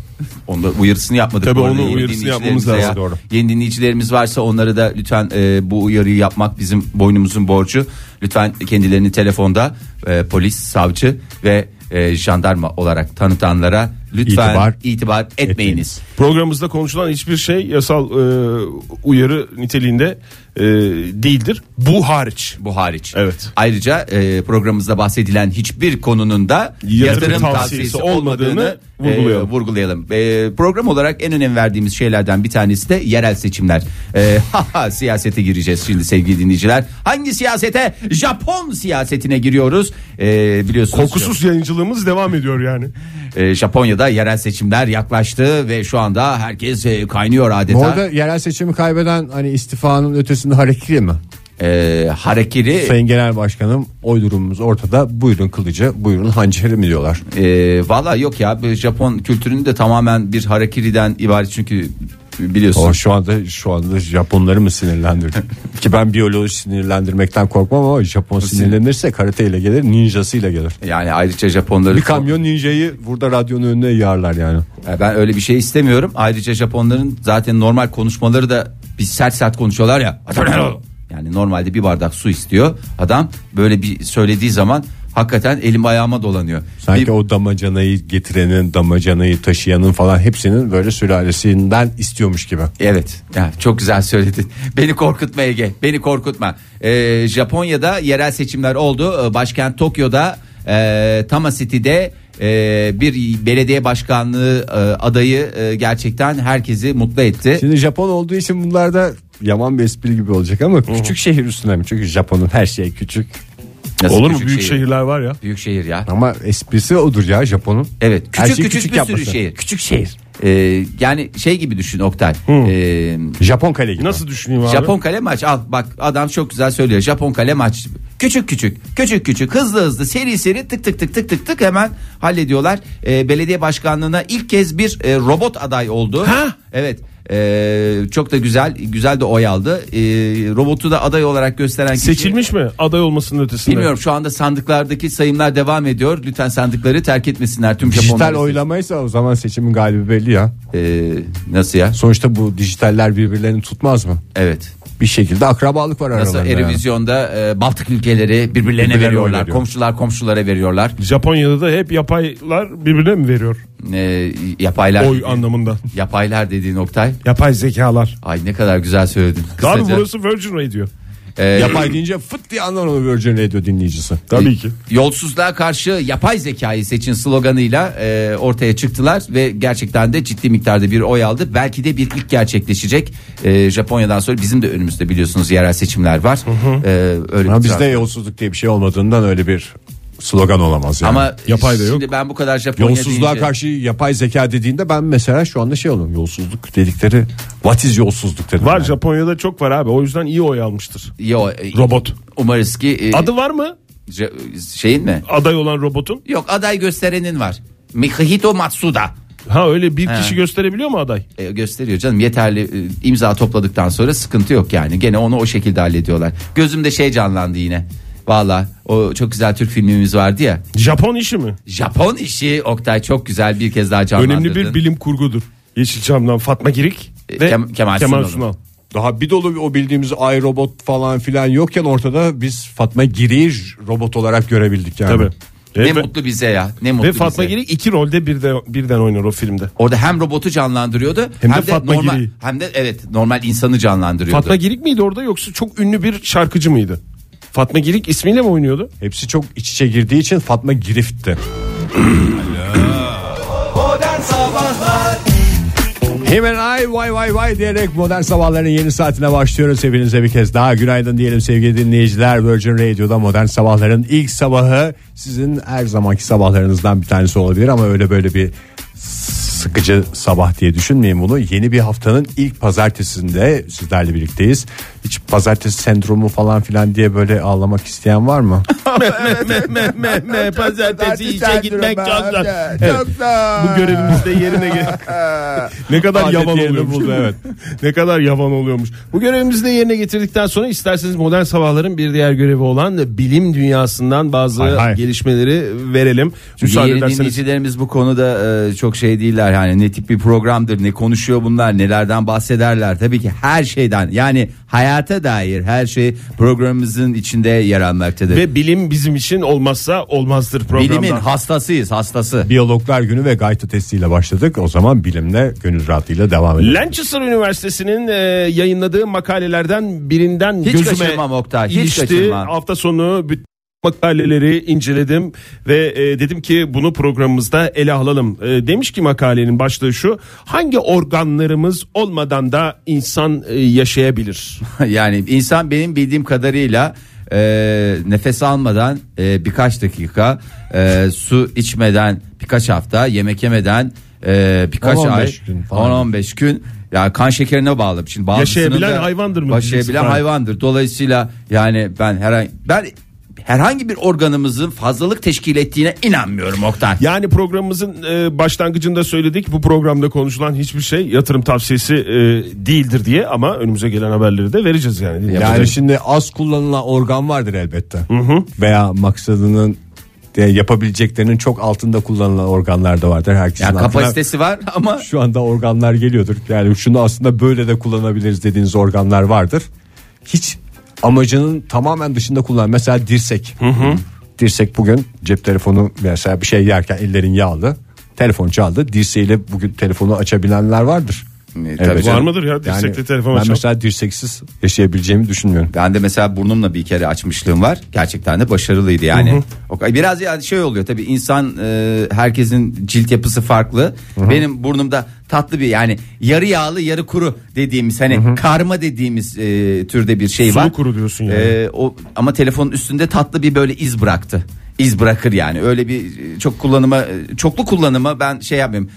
Speaker 5: Onda uyarısını yapmadık.
Speaker 4: Tabii
Speaker 5: bu arada.
Speaker 4: onu
Speaker 5: Yeni
Speaker 4: uyarısını
Speaker 5: dinleyicilerimiz
Speaker 4: yapmamız
Speaker 5: de-
Speaker 4: lazım, doğru.
Speaker 5: Yeni dinleyicilerimiz varsa onlara da lütfen e, bu uyarıyı yapmak bizim boynumuzun borcu. Lütfen kendilerini telefonda e, polis, savcı ve e, jandarma olarak tanıtanlara lütfen
Speaker 1: İtibar-
Speaker 5: itibar, etmeyiniz.
Speaker 4: Programımızda konuşulan hiçbir şey yasal e, uyarı niteliğinde e, değildir. Bu hariç.
Speaker 5: Bu hariç.
Speaker 4: Evet.
Speaker 5: Ayrıca e, programımızda bahsedilen hiçbir konunun da
Speaker 4: Yatırım
Speaker 5: yatırım,
Speaker 4: tavsiyesi
Speaker 5: tavsiyesi
Speaker 4: olmadığını
Speaker 5: olmadığını e,
Speaker 4: vurgulayalım.
Speaker 5: vurgulayalım. E, program olarak en önem verdiğimiz şeylerden bir tanesi de yerel seçimler. E, haha, siyasete gireceğiz şimdi sevgili dinleyiciler. Hangi siyasete? Japon siyasetine giriyoruz. E, biliyorsunuz.
Speaker 4: Korkusuz yayıncılığımız devam ediyor yani.
Speaker 5: e, Japonya'da yerel seçimler yaklaştı ve şu anda herkes e, kaynıyor adeta.
Speaker 1: Orada yerel seçimi kaybeden hani istifanın ötesinde hareketli mi?
Speaker 5: E, harekiri
Speaker 1: Sayın Genel Başkanım oy durumumuz ortada. Buyurun kılıcı, buyurun hançeri mi diyorlar.
Speaker 5: E, Valla yok ya bu Japon kültürünü de tamamen bir harakiri'den ibaret çünkü biliyorsun.
Speaker 1: O şu anda şu anda Japonları mı sinirlendirdi? Ki ben biyoloji sinirlendirmekten korkmam ama Japon sinirlenirse karateyle gelir, ninjasıyla gelir.
Speaker 5: Yani ayrıca Japonları
Speaker 1: Bir kamyon ninjayı burada radyonun önüne yağarlar yani.
Speaker 5: E, ben öyle bir şey istemiyorum. Ayrıca Japonların zaten normal konuşmaları da bir sert sert konuşuyorlar ya. Yani normalde bir bardak su istiyor. Adam böyle bir söylediği zaman hakikaten elim ayağıma dolanıyor.
Speaker 1: Sanki
Speaker 5: Bir-
Speaker 1: o damacanayı getirenin, damacanayı taşıyanın falan hepsinin böyle sülalesinden istiyormuş gibi.
Speaker 5: Evet ya, çok güzel söyledin. Beni korkutma Ege beni korkutma. Ee, Japonya'da yerel seçimler oldu. Ee, Başkent Tokyo'da e, Tama City'de e, bir belediye başkanlığı e, adayı e, gerçekten herkesi mutlu etti.
Speaker 1: Şimdi Japon olduğu için bunlar da yaman bir espri gibi olacak ama küçük şehir üstüne mi? Çünkü Japon'un her şeyi küçük.
Speaker 5: Nasıl
Speaker 4: Olur mu?
Speaker 5: küçük
Speaker 4: Büyük
Speaker 5: şehir?
Speaker 4: şehirler var ya.
Speaker 5: Büyük şehir ya.
Speaker 1: Ama esprisi odur ya Japon'un.
Speaker 5: Evet
Speaker 1: Her
Speaker 5: küçük
Speaker 1: şeyi
Speaker 5: küçük, bir
Speaker 1: yapması.
Speaker 5: sürü şehir. Küçük şehir. yani şey gibi düşün Oktay. Ee,
Speaker 1: Japon kale gibi.
Speaker 4: Nasıl düşüneyim abi?
Speaker 5: Japon kale maç al bak adam çok güzel söylüyor Japon kale maç küçük küçük küçük küçük hızlı hızlı seri seri tık tık tık tık tık tık hemen hallediyorlar. Ee, belediye başkanlığına ilk kez bir e, robot aday oldu.
Speaker 4: Ha?
Speaker 5: Evet. Ee, çok da güzel güzel de oy aldı. Ee, robotu da aday olarak gösteren kişi.
Speaker 4: Seçilmiş mi aday olmasının ötesinde?
Speaker 5: Bilmiyorum şu anda sandıklardaki sayımlar devam ediyor. Lütfen sandıkları terk etmesinler tüm
Speaker 1: Dijital
Speaker 5: Japonlar.
Speaker 1: oylamaysa o zaman seçimin galibi belli ya.
Speaker 5: Ee, nasıl ya?
Speaker 1: Sonuçta bu dijitaller birbirlerini tutmaz mı?
Speaker 5: Evet.
Speaker 1: Bir şekilde akrabalık var
Speaker 5: Nasıl
Speaker 1: aralarında. yani.
Speaker 5: Erevizyonda e, Baltık ülkeleri birbirlerine,
Speaker 1: oy
Speaker 5: veriyorlar.
Speaker 1: veriyor.
Speaker 5: Komşular komşulara veriyorlar.
Speaker 4: Japonya'da da hep yapaylar birbirine mi veriyor?
Speaker 5: e, yapaylar
Speaker 4: Oy anlamında.
Speaker 5: yapaylar dediği Oktay.
Speaker 4: Yapay zekalar.
Speaker 5: Ay ne kadar güzel söyledin.
Speaker 4: Abi
Speaker 5: Kısaca,
Speaker 4: burası Virgin Radio.
Speaker 5: e,
Speaker 1: Yapay deyince fıt diye anlamıyor Virgin Radio dinleyicisi.
Speaker 4: Tabii ki.
Speaker 5: Yolsuzluğa karşı yapay zekayı seçin sloganıyla e, ortaya çıktılar ve gerçekten de ciddi miktarda bir oy aldı. Belki de bir ilk gerçekleşecek. E, Japonya'dan sonra bizim de önümüzde biliyorsunuz yerel seçimler var. E, öyle
Speaker 1: Ama
Speaker 5: bir
Speaker 1: bizde yolsuzluk diye bir şey olmadığından öyle bir slogan olamaz yani.
Speaker 5: Ama
Speaker 1: yapay da yok.
Speaker 5: şimdi ben bu kadar Japonya
Speaker 1: Yolsuzluğa
Speaker 5: deyince-
Speaker 1: karşı yapay zeka dediğinde ben mesela şu anda şey oldum. Yolsuzluk dedikleri what is yolsuzluk dedim.
Speaker 4: Var
Speaker 1: yani.
Speaker 4: Japonya'da çok var abi. O yüzden iyi oy almıştır.
Speaker 5: Yo, e,
Speaker 4: Robot.
Speaker 5: Umarız ki e,
Speaker 4: Adı var mı?
Speaker 5: ce- şeyin mi?
Speaker 4: Aday olan robotun.
Speaker 5: Yok aday gösterenin var. Mikahito Matsuda.
Speaker 4: Ha öyle bir
Speaker 5: He.
Speaker 4: kişi gösterebiliyor mu aday?
Speaker 5: E, gösteriyor canım yeterli e, imza topladıktan sonra sıkıntı yok yani gene onu o şekilde hallediyorlar gözümde şey canlandı yine valla o çok güzel Türk filmimiz vardı ya
Speaker 4: Japon işi mi?
Speaker 5: Japon işi Oktay çok güzel bir kez daha canlandırdın
Speaker 4: Önemli bir bilim kurgudur. Yeşilçam'dan Fatma Girik ve
Speaker 5: Kem- Kemal Sunal.
Speaker 4: Kemal, Sunal.
Speaker 1: Daha bir dolu o bildiğimiz ay robot falan filan yokken ortada biz Fatma Giri'yi robot olarak görebildik yani.
Speaker 4: Tabii.
Speaker 5: Ne
Speaker 4: Ve,
Speaker 5: mutlu bize ya. Ne mutlu
Speaker 4: ve Fatma
Speaker 5: bize.
Speaker 4: Girik iki rolde bir de, birden oynar o filmde.
Speaker 5: Orada hem robotu canlandırıyordu hem,
Speaker 4: Hem de
Speaker 5: de,
Speaker 4: Fatma
Speaker 5: normal
Speaker 4: Giri'yi.
Speaker 5: hem de evet normal insanı canlandırıyordu.
Speaker 4: Fatma Girik miydi orada yoksa çok ünlü bir şarkıcı mıydı? Fatma Girik ismiyle mi oynuyordu?
Speaker 1: Hepsi çok iç içe girdiği için Fatma Girif'ti.
Speaker 2: Modern Sabahlar
Speaker 1: Hemen ay vay vay vay diyerek modern sabahların yeni saatine başlıyoruz. Hepinize bir kez daha günaydın diyelim sevgili dinleyiciler. Virgin Radio'da modern sabahların ilk sabahı sizin her zamanki sabahlarınızdan bir tanesi olabilir ama öyle böyle bir sıkıcı sabah diye düşünmeyin bunu. Yeni bir haftanın ilk pazartesinde sizlerle birlikteyiz. Hiç pazartesi sendromu falan filan diye böyle ağlamak isteyen var mı?
Speaker 5: Pazartesi
Speaker 4: Bu görevimiz de yerine gel. ne kadar
Speaker 1: Adet
Speaker 4: yavan
Speaker 1: yerini
Speaker 4: oluyormuş.
Speaker 1: buldu,
Speaker 4: evet. ne kadar yavan oluyormuş. Bu görevimizi de yerine getirdikten sonra isterseniz modern sabahların bir diğer görevi olan bilim dünyasından bazı
Speaker 1: Hay hay.
Speaker 4: gelişmeleri verelim. Müsaade
Speaker 5: Yeni
Speaker 4: ederseniz.
Speaker 5: dinleyicilerimiz bu konuda e, çok şey değiller yani ne tip bir programdır ne konuşuyor bunlar nelerden bahsederler tabii ki her şeyden yani hayata dair her şey programımızın içinde yer almaktadır.
Speaker 4: Ve bilim bizim için olmazsa olmazdır programda.
Speaker 5: Bilimin hastasıyız hastası.
Speaker 1: Biyologlar günü ve Gayta testiyle başladık. O zaman bilimle gönül rahatlığıyla devam edelim.
Speaker 4: Lancaster Üniversitesi'nin e, yayınladığı makalelerden birinden
Speaker 5: Hiç
Speaker 4: gözüme
Speaker 5: kaçırmam Oktay, hiç
Speaker 4: ilişti.
Speaker 5: kaçırmam.
Speaker 4: Hafta sonu bütün makaleleri inceledim ve e, dedim ki bunu programımızda ele alalım. E, demiş ki makalenin başlığı şu. Hangi organlarımız olmadan da insan e, yaşayabilir?
Speaker 5: yani insan benim bildiğim kadarıyla e, nefes almadan e, birkaç dakika e, su içmeden birkaç hafta yemek yemeden e, birkaç
Speaker 1: 10-15
Speaker 5: ay
Speaker 1: gün falan.
Speaker 5: 10-15 gün ya kan şekerine bağlı. Şimdi bazısının
Speaker 4: Yaşayabilen
Speaker 5: da-
Speaker 4: hayvandır mı diyeceksin?
Speaker 5: Yaşayabilen
Speaker 4: Ha.
Speaker 5: hayvandır. Dolayısıyla yani ben herhangi ben herhangi bir organımızın fazlalık teşkil ettiğine inanmıyorum Oktay.
Speaker 4: Yani programımızın e, başlangıcında söyledik bu programda konuşulan hiçbir şey yatırım tavsiyesi e, değildir diye ama önümüze gelen haberleri de vereceğiz yani.
Speaker 1: Yani şimdi az kullanılan organ vardır elbette. Veya maksadının de yapabileceklerinin çok altında kullanılan organlar da vardır. Herkesin
Speaker 5: Yani
Speaker 1: aklına
Speaker 5: kapasitesi var ama
Speaker 1: şu anda organlar geliyordur. Yani şunu aslında böyle de kullanabiliriz dediğiniz organlar vardır. Hiç amacının tamamen dışında kullan. Mesela dirsek. Dirsek bugün cep telefonu mesela bir şey yerken ellerin yağlı. Telefon çaldı. Dirseğiyle bugün telefonu açabilenler vardır.
Speaker 5: tabii
Speaker 1: Elbette.
Speaker 5: canım.
Speaker 4: Var mıdır ya dirsekle telefon
Speaker 1: ben
Speaker 4: açan?
Speaker 1: mesela dirseksiz yaşayabileceğimi düşünmüyorum.
Speaker 5: Ben de mesela burnumla bir kere açmışlığım var. Gerçekten de başarılıydı yani. O kadar- Biraz yani şey oluyor tabii insan e, herkesin cilt yapısı farklı. Benim burnumda tatlı bir yani yarı yağlı yarı kuru dediğimiz hani karma dediğimiz e, türde bir şey
Speaker 4: Sulu
Speaker 5: var.
Speaker 4: kuru diyorsun yani.
Speaker 5: E, o ama telefonun üstünde tatlı bir böyle iz bıraktı. İz bırakır yani. Öyle bir e, çok kullanıma e, çoklu kullanıma ben şey yapmayayım.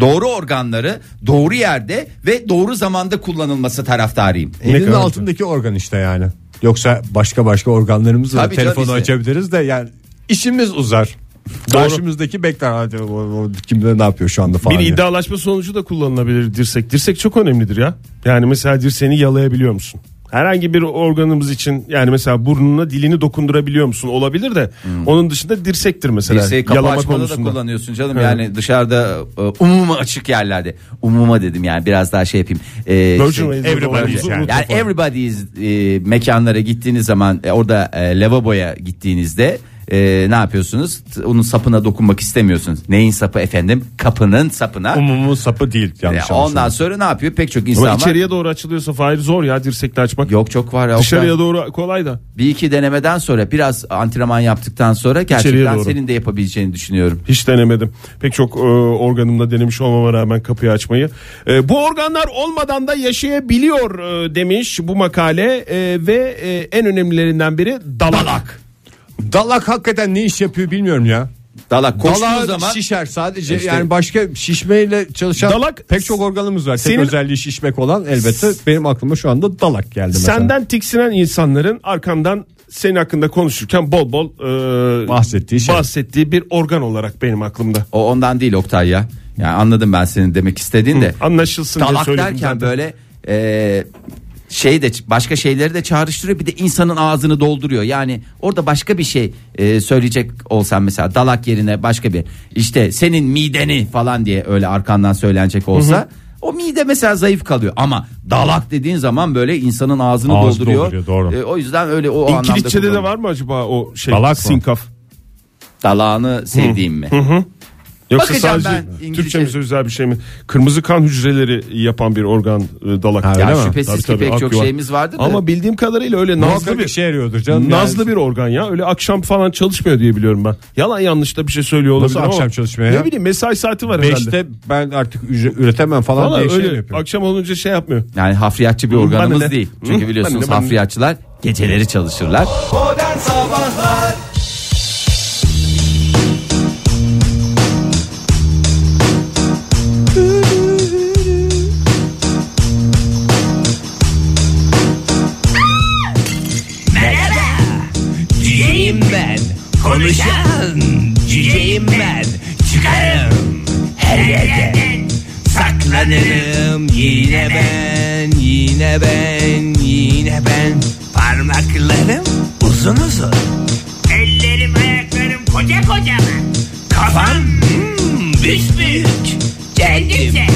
Speaker 5: Doğru organları doğru yerde ve doğru zamanda kullanılması taraftarıyım.
Speaker 1: Elinin
Speaker 4: kadar?
Speaker 1: altındaki organ işte yani. Yoksa başka başka organlarımız var.
Speaker 5: Tabii canım
Speaker 1: Telefonu
Speaker 5: işte.
Speaker 1: açabiliriz de yani işimiz uzar. Karşımızdaki bekler hadi o- o- kim bilir ne yapıyor şu anda falan.
Speaker 4: Bir
Speaker 1: diye.
Speaker 4: iddialaşma sonucu da kullanılabilir dirsek. Dirsek çok önemlidir ya. Yani mesela dirseğini yalayabiliyor musun? Herhangi bir organımız için yani mesela burnuna dilini dokundurabiliyor musun? Olabilir de onun dışında dirsektir mesela.
Speaker 5: Hmm. Dirseği kapı
Speaker 4: Yalama
Speaker 5: açmada
Speaker 4: konusunda.
Speaker 5: da kullanıyorsun canım yani dışarıda e, umuma açık yerlerde. Umuma dedim yani biraz daha şey yapayım. E,
Speaker 4: Virgin Radio'da
Speaker 1: everybody's
Speaker 4: olduğunuzu
Speaker 1: yani.
Speaker 4: unutma
Speaker 5: yani
Speaker 4: falan.
Speaker 5: everybody's e, mekanlara gittiğiniz zaman e, orada e, lavaboya gittiğinizde e, ne yapıyorsunuz? T- Onun sapına dokunmak istemiyorsunuz. Neyin sapı efendim? Kapının sapına.
Speaker 1: Umumun sapı değil
Speaker 5: E,
Speaker 1: yanlış
Speaker 5: ondan
Speaker 1: Ondan
Speaker 5: sonra ne yapıyor? Pek çok
Speaker 4: Ama
Speaker 5: insan var.
Speaker 4: içeriye doğru açılıyorsa Fahir zor ya dirsekle açmak.
Speaker 5: Yok çok var. ya,
Speaker 4: Dışarıya
Speaker 5: Oktay.
Speaker 4: doğru kolay da.
Speaker 5: Bir iki denemeden sonra biraz antrenman yaptıktan sonra gerçekten
Speaker 4: doğru.
Speaker 5: senin de yapabileceğini düşünüyorum.
Speaker 4: Hiç denemedim. Pek çok e, organımda denemiş olmama rağmen kapıyı açmayı. E, bu organlar olmadan da yaşayabiliyor e, demiş bu makale E, ve e, en önemlilerinden biri dalak.
Speaker 1: Dalak hakikaten ne iş yapıyor bilmiyorum ya.
Speaker 5: Dalak koştuğu
Speaker 1: Dalak
Speaker 5: zaman
Speaker 1: şişer sadece
Speaker 5: İşte-
Speaker 1: yani başka şişmeyle çalışan
Speaker 4: Dalak-
Speaker 1: pek çok organımız var.
Speaker 4: Senin-
Speaker 1: Tek özelliği şişmek olan elbette benim aklıma şu anda dalak geldi mesela.
Speaker 4: Senden tiksinen insanların arkandan senin hakkında konuşurken bol bol e,
Speaker 1: Bahsettiği şey.
Speaker 4: bahsettiği bir organ olarak benim aklımda.
Speaker 5: O ondan değil Oktay ya. Yani anladım ben senin demek istediğin de.
Speaker 4: Anlaşılsın diye
Speaker 5: Dalak
Speaker 4: söyledim
Speaker 5: derken
Speaker 4: zaten.
Speaker 5: böyle e, şey de başka şeyleri de çağrıştırıyor bir de insanın ağzını dolduruyor. Yani orada başka bir şey e, söyleyecek olsan mesela dalak yerine başka bir işte senin mideni falan diye öyle arkandan söylenecek olsa o mide mesela zayıf kalıyor ama dalak dediğin zaman böyle insanın ağzını
Speaker 7: Ağız
Speaker 5: dolduruyor.
Speaker 7: dolduruyor, doğru.
Speaker 5: E, o yüzden öyle o anlamda
Speaker 4: İngilizce'de de
Speaker 5: kullanılıyor.
Speaker 4: var mı acaba o şey
Speaker 7: Dalak mı?
Speaker 4: sinkaf?
Speaker 5: Dalağını sevdiğim mi?
Speaker 4: Yoksa
Speaker 5: Bakacağım ben
Speaker 4: sadece
Speaker 5: İngilizce-
Speaker 4: Türkçemize özel bir şey mi? Kırmızı kan hücreleri yapan bir organ e, dalak.
Speaker 5: Ya şüphesiz ki pek çok
Speaker 4: akıyor.
Speaker 5: şeyimiz vardı da.
Speaker 4: Ama bildiğim kadarıyla öyle nazlı
Speaker 1: Nasıl bir
Speaker 4: bir
Speaker 1: şey yarıyordur canım?
Speaker 4: Nazlı
Speaker 1: Yani
Speaker 4: bir organ ya. Öyle akşam falan çalışmıyor diye biliyorum ben. Yalan yanlış da bir şey söylüyor olabilir
Speaker 1: Nasıl
Speaker 4: ama.
Speaker 1: akşam çalışmıyor ya?
Speaker 4: Ne bileyim mesai saati var herhalde.
Speaker 1: Beşte ben artık ücre- üretemem falan
Speaker 4: Valla
Speaker 1: diye şey
Speaker 4: öyle
Speaker 1: mi yapıyor.
Speaker 4: akşam olunca şey yapmıyor.
Speaker 5: Yani hafriyatçı bir
Speaker 4: Hı,
Speaker 5: organımız
Speaker 4: bana ne?
Speaker 5: değil.
Speaker 4: Hı, bana
Speaker 5: Çünkü
Speaker 4: ne,
Speaker 5: biliyorsunuz
Speaker 4: bana ne?
Speaker 5: hafriyatçılar geceleri çalışırlar.
Speaker 2: Modern Sabahlar
Speaker 8: Cüceyim ben Konuşan cüceyim ben Çıkarım her yerden Saklanırım yine ben Yine ben Yine ben Parmaklarım uzun uzun Ellerim ayaklarım koca kocaman Kafam hmm, büyük Kendimse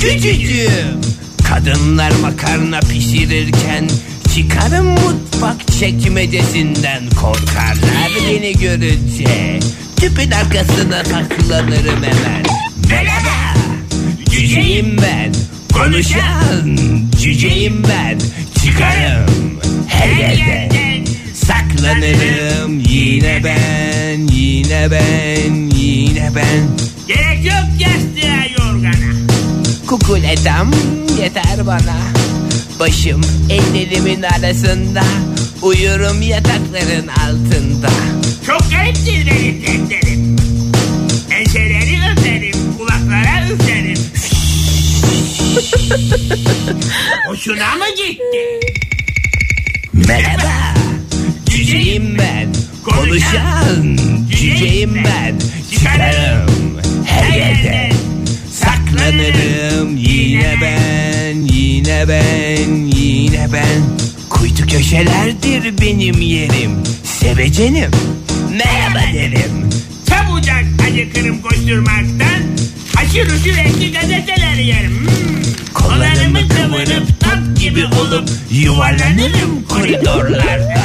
Speaker 8: küçücüğüm Kadınlar makarna pişirirken Çıkarım mutfak çekmecesinden Korkarlar beni görünce Tüpün arkasına saklanırım hemen Merhaba Cüceyim ben Konuşan cüceyim ben Çıkarım her yerden Saklanırım yine ben Yine ben Yine ben Gerek yok yastığa yorgana Kukul edem yeter bana Başım ellerimin arasında Uyurum yatakların altında Çok gariptir benim dertlerim Enseleri öperim Kulaklara üflerim Hoşuna mı gitti? Merhaba Cüceyim ben Konuşan Cüceyim ben Çıkarım her yerden Saklanırım yine ben Yine ben Yine ben Kuytu köşelerdir benim yerim Sevecenim Merhaba derim Çabucak acıkırım koşturmaktan Haşır uşur eski gazeteler yerim Hmm. Kollarımı kıvırıp top gibi olup Yuvarlanırım koridorlarda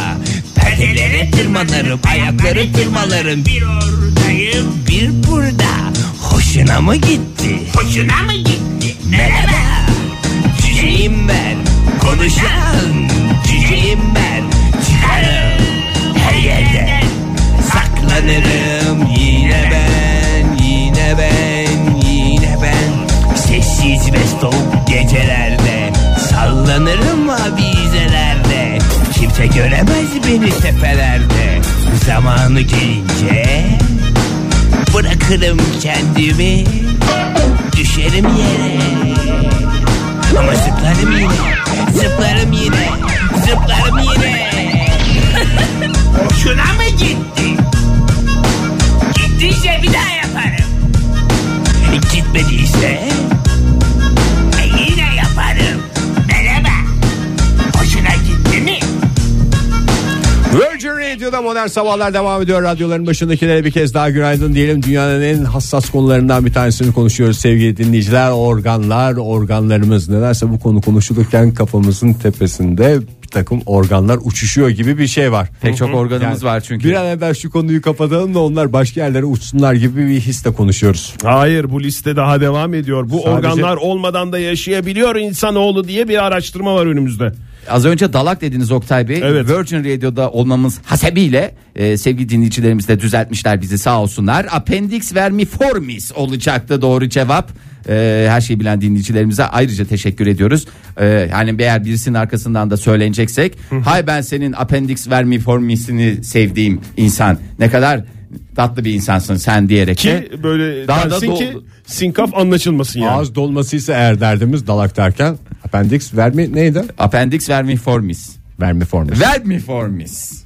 Speaker 8: Perdelere tırmanırım Ayakları tırmalarım Bir oradayım bir burada Hoşuna mı gitti? Hoşuna mı gitti? Merhaba Cüceyim ben Konuşan Cüceyim ben Çıkarım her yerde Saklanırım yine ben Yine ben Yine ben Sessiz ve soğuk gecelerde Sallanırım avizelerde Kimse göremez beni tepelerde Zamanı gelince Bırakırım kendimi Düşerim yere Ama zıplarım yine Zıplarım yine Zıplarım yine Hoşuna mı gitti? Gittiyse bir daha yaparım Gitmediyse e, Yine yaparım Merhaba Hoşuna gitti mi?
Speaker 1: Virgin Radio'da modern sabahlar devam ediyor. Radyoların başındakilere bir kez daha günaydın diyelim. Dünyanın en hassas konularından bir tanesini konuşuyoruz sevgili dinleyiciler. Organlar, organlarımız. Nedense bu konu konuşulurken kafamızın tepesinde bir takım organlar uçuşuyor gibi bir şey var.
Speaker 5: Pek çok organımız var çünkü.
Speaker 1: Bir an evvel şu konuyu kapatalım da onlar başka yerlere uçsunlar gibi bir hisle konuşuyoruz.
Speaker 4: Hayır bu liste daha devam ediyor. Bu organlar olmadan da yaşayabiliyor insanoğlu diye bir araştırma var önümüzde.
Speaker 5: Az önce dalak dediniz Oktay Bey.
Speaker 4: Evet.
Speaker 5: Virgin Radio'da olmamız hasebiyle e, sevgili dinleyicilerimiz de düzeltmişler bizi sağ olsunlar. Appendix vermiformis olacaktı doğru cevap. E, her şeyi bilen dinleyicilerimize ayrıca teşekkür ediyoruz. E, yani eğer birisinin arkasından da söyleneceksek. Hay ben senin appendix vermiformisini sevdiğim insan. Ne kadar tatlı bir insansın sen diyerek.
Speaker 4: Ki
Speaker 5: de-
Speaker 4: böyle
Speaker 5: Daha da
Speaker 4: dersin
Speaker 5: doğ-
Speaker 4: ki sinkaf anlaşılmasın yani.
Speaker 1: Ağız dolması ise eğer derdimiz dalak derken appendix verme neydi?
Speaker 5: Appendix vermiformis.
Speaker 1: Verme formu.
Speaker 5: Vermiformis.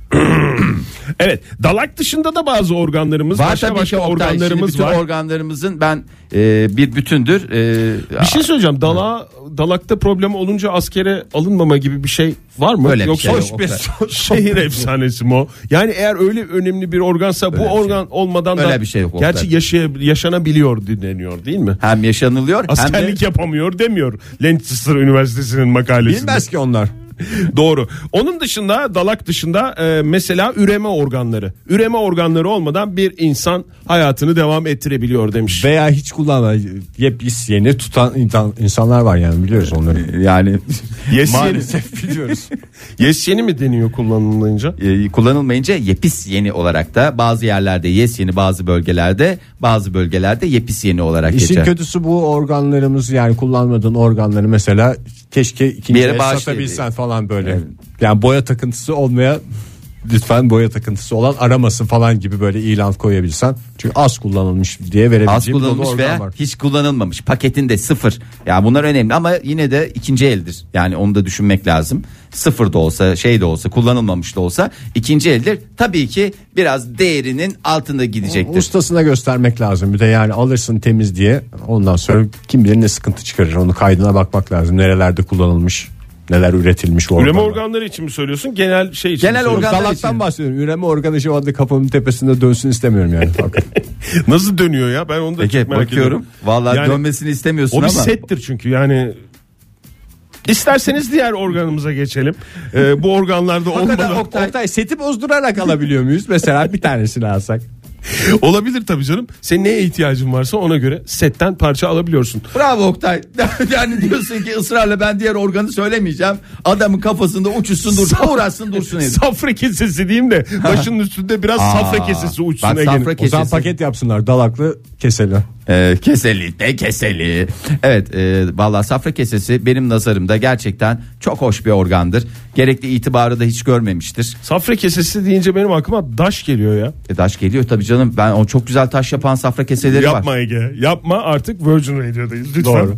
Speaker 4: Evet dalak dışında da bazı organlarımız
Speaker 5: Var
Speaker 4: başka
Speaker 5: tabii
Speaker 4: başka
Speaker 5: ki Oktay, şimdi
Speaker 4: organlarımız
Speaker 5: bütün
Speaker 4: var.
Speaker 5: organlarımızın ben e, bir bütündür. E,
Speaker 4: bir şey söyleyeceğim. Dala, dalakta problem olunca askere alınmama gibi bir şey var mı?
Speaker 5: Böyle bir
Speaker 4: Yoksa
Speaker 5: şey yok,
Speaker 4: hoş bir
Speaker 5: Oktay.
Speaker 4: so- şehir efsanesi mi o? Yani eğer öyle önemli bir organsa bu
Speaker 5: bir şey
Speaker 4: organ olmadan da
Speaker 5: Öyle bir şey yok, Oktay.
Speaker 4: gerçi yaşay- yaşanabiliyor deniyor değil mi?
Speaker 5: hem yaşanılıyor hem de
Speaker 4: Askerlik yapamıyor demiyor Lancaster Üniversitesi'nin makalesinde.
Speaker 1: Bilmez ki onlar.
Speaker 4: Doğru. Onun dışında dalak dışında e, mesela üreme organları. Üreme organları olmadan bir insan hayatını devam ettirebiliyor demiş.
Speaker 1: Veya hiç kullanmayan yepis yeni tutan insan- insanlar var yani biliyoruz onları.
Speaker 5: yani
Speaker 4: Yes yeni,
Speaker 1: Maalesef biliyoruz.
Speaker 4: yes yeni mi deniyor kullanılınca?
Speaker 5: e, kullanılmayınca yepis yeni olarak da bazı yerlerde yes yeni bazı bölgelerde bazı bölgelerde yepis yeni olarak
Speaker 1: İşin
Speaker 5: geçer.
Speaker 1: kötüsü bu organlarımız yani kullanmadığın organları mesela keşke
Speaker 5: Bir
Speaker 1: ikinci
Speaker 5: yere
Speaker 1: el
Speaker 5: bağışlayayım.
Speaker 1: satabilsen falan böyle. Yani boya takıntısı olmaya lütfen boya takıntısı olan aramasın falan gibi böyle ilan koyabilsen. Çünkü az kullanılmış diye
Speaker 5: Az
Speaker 1: verebileceğim
Speaker 5: kullanılmış veya hiç kullanılmamış paketinde sıfır. Ya bunlar önemli ama yine de ikinci eldir. Yani onu da düşünmek lazım. Sıfır da olsa şey de olsa kullanılmamış da olsa ikinci eldir. Tabii ki biraz değerinin altında gidecektir.
Speaker 1: Ustasına göstermek lazım bir de yani alırsın temiz diye ondan sonra kim bilir ne sıkıntı çıkarır onu kaydına bakmak lazım nerelerde kullanılmış neler üretilmiş
Speaker 4: Üreme
Speaker 1: organlar.
Speaker 4: organları için mi söylüyorsun? Genel şey için. mi
Speaker 5: Genel
Speaker 4: söylüyorsun?
Speaker 5: organlar
Speaker 1: Dalaktan
Speaker 5: için.
Speaker 1: bahsediyorum üreme organı şu anda kafamın tepesinde dönsün istemiyorum yani.
Speaker 4: Nasıl dönüyor ya? Ben onu da
Speaker 5: Peki
Speaker 4: çok merak
Speaker 5: bakıyorum.
Speaker 4: ediyorum.
Speaker 5: Vallahi
Speaker 4: Yani
Speaker 5: dönmesini istemiyorsun
Speaker 4: O bir
Speaker 5: ama.
Speaker 4: settir çünkü yani İsterseniz diğer organımıza geçelim. Ee, bu organlarda olmadan
Speaker 1: Oktay, seti bozdurarak alabiliyor muyuz? Mesela bir tanesini alsak.
Speaker 4: olabilir tabii canım. Senin neye ihtiyacın varsa ona göre setten parça alabiliyorsun.
Speaker 5: Bravo Oktay. Yani diyorsun ki ısrarla ben diğer organı söylemeyeceğim. Adamın kafasında uçuşsun dursun, uğraşsın dursun. herif.
Speaker 4: Safra kesesi diyeyim de başının üstünde biraz safra kesesi uçsun
Speaker 5: bak
Speaker 4: Ege'nin.
Speaker 5: safra
Speaker 1: O zaman
Speaker 5: Kesesi.
Speaker 1: paket yapsınlar dalaklı keseli.
Speaker 5: Ee, keseli de keseli. Evet e, vallahi safra kesesi benim nazarımda gerçekten çok hoş bir organdır. Gerekli itibarı da hiç görmemiştir.
Speaker 4: Safra kesesi deyince benim aklıma daş geliyor ya.
Speaker 5: E, taş geliyor tabii canım. Ben o çok güzel taş yapan safra keseleri
Speaker 4: Yapma
Speaker 5: var.
Speaker 4: Ege. Yapma artık Virgin Radio'dayız lütfen.
Speaker 1: Doğru.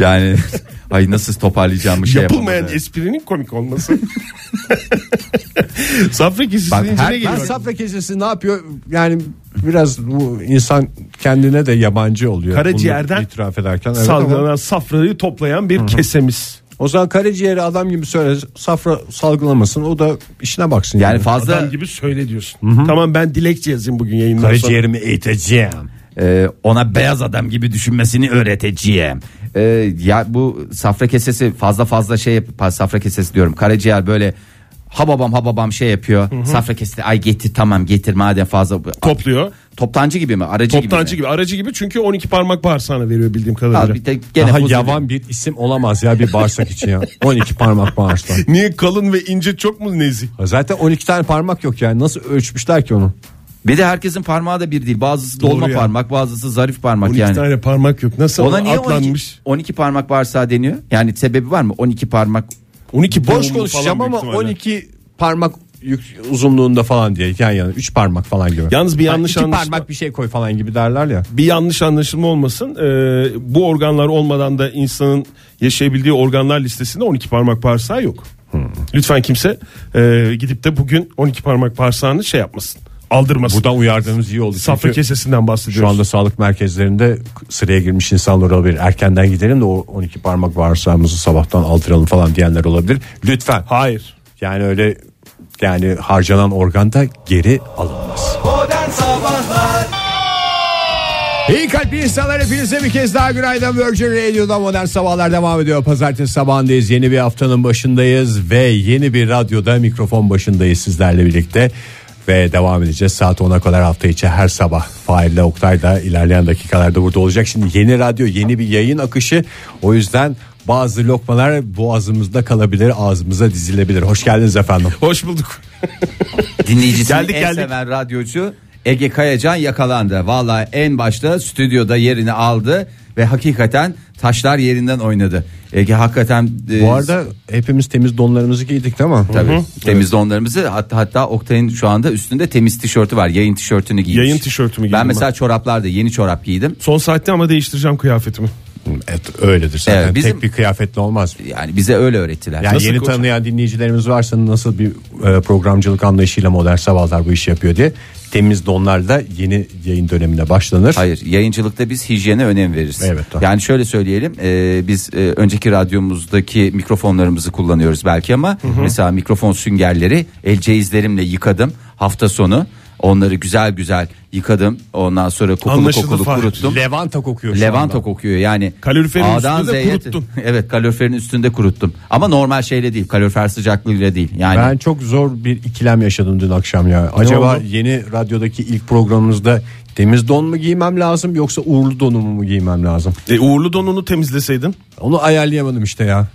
Speaker 5: Yani ay nasıl toparlayacağım bir şey
Speaker 4: Yapılmayan
Speaker 5: yapamadım.
Speaker 4: esprinin komik olması. safra kesesi
Speaker 5: Bak,
Speaker 4: deyince
Speaker 5: her-
Speaker 4: ne
Speaker 1: Ben
Speaker 4: geliyor?
Speaker 1: safra kesesi ne yapıyor? Yani biraz bu insan kendine de yabancı oluyor.
Speaker 4: Karaciğerden
Speaker 1: Bunu itiraf ederken. Evet ama
Speaker 4: salgılanan safrayı toplayan bir kesemiz.
Speaker 1: o zaman karaciğeri adam gibi söyle safra salgılamasın o da işine baksın.
Speaker 5: Yani fazla
Speaker 4: Adam gibi söyle diyorsun. Tamam ben dilekçe yazayım bugün yayından sonra.
Speaker 1: karaciğerimi eğiteceğim.
Speaker 5: Ee, ona beyaz adam gibi düşünmesini öğreteceğim. Ee, ya bu safra kesesi fazla fazla şey yap- pa- safra kesesi diyorum. Karaciğer böyle ha babam ha babam şey yapıyor. Safra kesesi ay getir tamam getir madem fazla.
Speaker 4: Topluyor.
Speaker 5: Toptancı gibi mi? Aracı
Speaker 4: Toptancı
Speaker 5: gibi.
Speaker 4: gibi. Aracı gibi çünkü 12 parmak bağırsağına veriyor bildiğim
Speaker 5: mi?
Speaker 4: kadarıyla.
Speaker 5: Al bir de gene
Speaker 1: Daha
Speaker 5: huzur-
Speaker 1: yavan bir isim olamaz ya bir bağırsak için ya. 12 parmak bağırsam.
Speaker 4: Niye kalın ve ince çok mu nezik?
Speaker 1: Zaten 12 tane parmak yok yani nasıl ölçmüşler ki onu?
Speaker 5: Bir de herkesin parmağı da bir değil. Bazısı
Speaker 4: Doğru
Speaker 5: dolma
Speaker 4: ya.
Speaker 5: parmak, bazısı zarif parmak
Speaker 4: 12
Speaker 5: yani.
Speaker 4: tane parmak yok. Nasıl
Speaker 5: Ona niye 12,
Speaker 4: atlanmış?
Speaker 5: 12 parmak bağırsağı deniyor? Yani sebebi var mı? 12 parmak
Speaker 4: 12,
Speaker 1: Boş konuşacağım ama 12 parmak yük- uzunluğunda falan diye yan yana 3 parmak falan gibi.
Speaker 4: Yalnız bir yanlış
Speaker 1: iki
Speaker 4: anlaşılma.
Speaker 1: parmak bir şey koy falan gibi derler ya.
Speaker 4: Bir yanlış anlaşılma olmasın. Ee, bu organlar olmadan da insanın yaşayabildiği organlar listesinde 12 parmak bağırsağı yok. Lütfen kimse e, gidip de bugün 12 parmak bağırsağını şey yapmasın. Aldırmasın.
Speaker 1: Buradan uyardığımız iyi oldu.
Speaker 4: Safra
Speaker 1: Çünkü
Speaker 4: kesesinden
Speaker 1: şu
Speaker 4: bahsediyoruz.
Speaker 1: anda sağlık merkezlerinde sıraya girmiş insanlar olabilir. Erkenden gidelim de o 12 parmak bağırsağımızı sabahtan aldıralım falan diyenler olabilir. Lütfen.
Speaker 4: Hayır.
Speaker 1: Yani öyle yani harcanan organ da geri alınmaz.
Speaker 2: Modern Sabahlar
Speaker 1: İyi kalpli insanlar hepinize bir kez daha günaydın Virgin Radio'da modern sabahlar devam ediyor. Pazartesi sabahındayız yeni bir haftanın başındayız ve yeni bir radyoda mikrofon başındayız sizlerle birlikte. Ve devam edeceğiz saat 10'a kadar hafta içi her sabah. Fahir ile Oktay da ilerleyen dakikalarda burada olacak. Şimdi yeni radyo yeni bir yayın akışı o yüzden bazı lokmalar boğazımızda kalabilir ağzımıza dizilebilir. Hoş geldiniz efendim.
Speaker 4: Hoş bulduk.
Speaker 5: Dinleyicisini
Speaker 4: Geldik,
Speaker 5: en
Speaker 4: geldik.
Speaker 5: seven radyocu Ege Kayacan yakalandı. Vallahi en başta stüdyoda yerini aldı ve hakikaten taşlar yerinden oynadı. Ege hakikaten e,
Speaker 1: Bu arada hepimiz temiz donlarımızı giydik değil mi?
Speaker 5: tabii, temiz donlarımızı hatta hatta Oktay'ın şu anda üstünde temiz tişörtü var. Yayın tişörtünü giymiş.
Speaker 4: Yayın tişörtümü giydim
Speaker 5: Ben
Speaker 4: ben.
Speaker 5: mesela çoraplarda yeni çorap giydim.
Speaker 4: Son saatte ama değiştireceğim kıyafetimi.
Speaker 1: Evet, öyledir zaten.
Speaker 5: Evet, bizim-
Speaker 1: Tek bir kıyafetle olmaz.
Speaker 5: Yani bize öyle öğrettiler.
Speaker 1: Yani
Speaker 4: Nasıl
Speaker 1: yeni
Speaker 4: koç-
Speaker 1: tanıyan dinleyicilerimiz varsa nasıl bir e, programcılık anlayışıyla modern sabahlar bu işi yapıyor diye temiz donlarla yeni yayın dönemine başlanır.
Speaker 5: Hayır yayıncılıkta biz hijyene önem veririz.
Speaker 1: Evet, doğru.
Speaker 5: Yani şöyle söyleyelim e, biz e, önceki radyomuzdaki mikrofonlarımızı kullanıyoruz belki ama mesela mikrofon süngerleri el ceizlerimle yıkadım hafta sonu. Onları güzel güzel yıkadım. Ondan sonra kokulu
Speaker 4: Anlaşıldı
Speaker 5: kokulu
Speaker 4: Fahir.
Speaker 5: kuruttum.
Speaker 1: Levanta kokuyor şu
Speaker 5: Levanta
Speaker 1: anda.
Speaker 5: kokuyor yani.
Speaker 4: Kaloriferin
Speaker 5: A'dan
Speaker 4: üstünde de
Speaker 5: Z'ye-
Speaker 4: kuruttun.
Speaker 5: Evet kaloriferin üstünde kuruttum. Ama normal şeyle değil kalorifer sıcaklığıyla değil. Yani
Speaker 1: Ben çok zor bir ikilem yaşadım dün akşam ya. Acaba
Speaker 4: oldu?
Speaker 1: yeni radyodaki ilk programımızda temiz don mu giymem lazım yoksa uğurlu donumu mu giymem lazım?
Speaker 4: E, uğurlu donunu temizleseydin.
Speaker 1: Onu ayarlayamadım işte ya.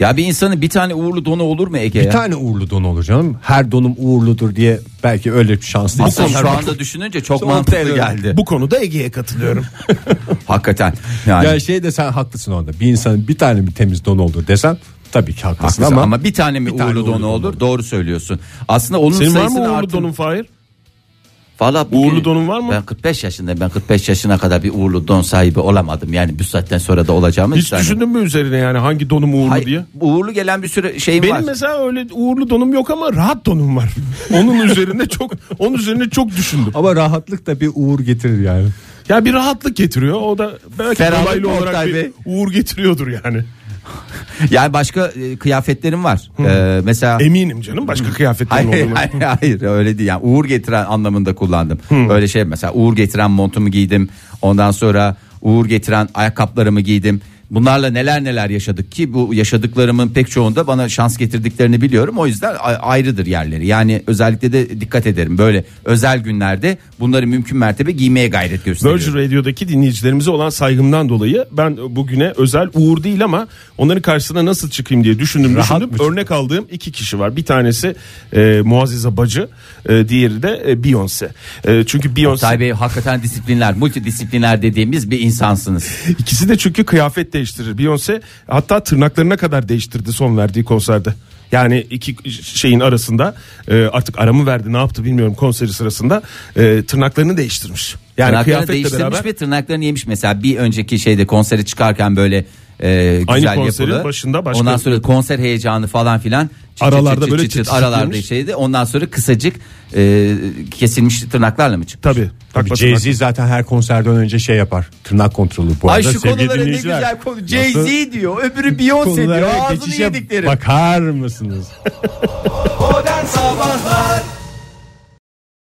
Speaker 5: ya bir insanın bir tane uğurlu donu olur mu Ege
Speaker 1: Bir
Speaker 5: ya?
Speaker 1: tane uğurlu don olur canım. Her donum uğurludur diye belki öyle bir şanslı
Speaker 5: Bu
Speaker 1: insan
Speaker 5: konu
Speaker 1: var.
Speaker 5: şu anda düşününce çok
Speaker 1: Çok
Speaker 5: mantıklı
Speaker 1: mantıklı.
Speaker 5: geldi.
Speaker 4: Bu konuda Ege'ye katılıyorum.
Speaker 5: Hakikaten. Yani.
Speaker 1: Ya şey de sen haklısın onda. Bir insanın bir tane bir temiz don olur desem tabii ki haklısın,
Speaker 5: Haklısın ama,
Speaker 1: ama,
Speaker 5: bir tane mi
Speaker 1: bir tane
Speaker 5: uğurlu
Speaker 1: uğurlu
Speaker 5: donu
Speaker 1: donu
Speaker 5: olur? Doğru söylüyorsun. Aslında onun
Speaker 4: Senin var mı
Speaker 5: sayısını
Speaker 4: uğurlu
Speaker 5: artır-
Speaker 4: donun Fahir?
Speaker 5: Valla bu-
Speaker 4: Uğurlu donun var mı?
Speaker 5: Ben 45 yaşındayım. Ben 45 yaşına kadar bir uğurlu don sahibi olamadım. Yani bu saatten sonra da olacağımı
Speaker 4: Hiç düşündün mü üzerine yani hangi donum uğurlu
Speaker 5: Hayır,
Speaker 4: diye?
Speaker 5: uğurlu gelen bir sürü şeyim
Speaker 4: Benim
Speaker 5: var.
Speaker 4: mesela öyle uğurlu donum yok ama rahat donum var. Onun üzerinde çok onun üzerine çok düşündüm.
Speaker 1: ama rahatlık da bir uğur getirir yani.
Speaker 4: Ya bir rahatlık getiriyor. O da belki
Speaker 5: Ferahlık
Speaker 4: dolaylı
Speaker 5: mı
Speaker 4: olarak
Speaker 5: Oktay
Speaker 4: bir
Speaker 5: Bey?
Speaker 4: uğur getiriyordur yani.
Speaker 5: Yani başka e, kıyafetlerim var. Ee, mesela
Speaker 4: Eminim canım başka kıyafetlerin
Speaker 5: Hayır,
Speaker 4: olduğunu.
Speaker 5: hayır hayır öyle değil yani uğur getiren anlamında kullandım. Öyle şey mesela uğur getiren montumu giydim. Ondan sonra uğur getiren ayakkabılarımı giydim. Bunlarla neler neler yaşadık ki bu yaşadıklarımın pek çoğunda bana şans getirdiklerini biliyorum. O yüzden a- ayrıdır yerleri. Yani özellikle de dikkat ederim. Böyle özel günlerde bunları mümkün mertebe giymeye gayret gösteriyorum.
Speaker 4: Virgin Radio'daki dinleyicilerimize olan saygımdan dolayı ben bugüne özel uğur değil ama onların karşısına nasıl çıkayım diye düşündüm düşündüm. Örnek aldığım iki kişi var. Bir tanesi e, Muazzeza Bacı, e, diğeri de e, Beyoncé. E, çünkü Beyoncé
Speaker 5: Oktay Bey hakikaten disiplinler, multidisipliner dediğimiz bir insansınız.
Speaker 4: ikisi de çünkü kıyafet değiştirir. Beyoncé hatta tırnaklarına kadar değiştirdi son verdiği konserde. Yani iki şeyin arasında e, artık aramı verdi ne yaptı bilmiyorum konseri sırasında e, tırnaklarını değiştirmiş. Yani
Speaker 5: tırnaklarını
Speaker 4: kıyafetle
Speaker 5: değiştirmiş
Speaker 4: beraber
Speaker 5: ve tırnaklarını yemiş mesela bir önceki şeyde konsere çıkarken böyle e, güzel
Speaker 4: Aynı konserin
Speaker 5: yapılı.
Speaker 4: başında başka-
Speaker 5: Ondan sonra konser heyecanı falan filan. Çıt çıt
Speaker 4: Aralarda
Speaker 5: çıt
Speaker 4: böyle
Speaker 5: çıt çıt
Speaker 4: çıt çıt
Speaker 5: aralarda
Speaker 4: çıtlamış.
Speaker 5: şeydi. Ondan sonra kısacık e, kesilmiş tırnaklarla mı çıkmış?
Speaker 4: tabii.
Speaker 1: Tabii
Speaker 4: takma
Speaker 1: Jay-Z zaten her konserden önce şey yapar. Tırnak kontrolü bu
Speaker 5: Ay
Speaker 1: arada.
Speaker 5: şu
Speaker 1: sevgili
Speaker 5: konulara ne
Speaker 1: dinleyiciler.
Speaker 5: güzel konu.
Speaker 1: Nasıl
Speaker 5: Jay-Z diyor, öbürü Beyoncé diyor.
Speaker 1: konulara
Speaker 5: Ağzını
Speaker 1: geçişe
Speaker 5: yedikleri.
Speaker 1: Bakar mısınız?
Speaker 2: Modern Sabahlar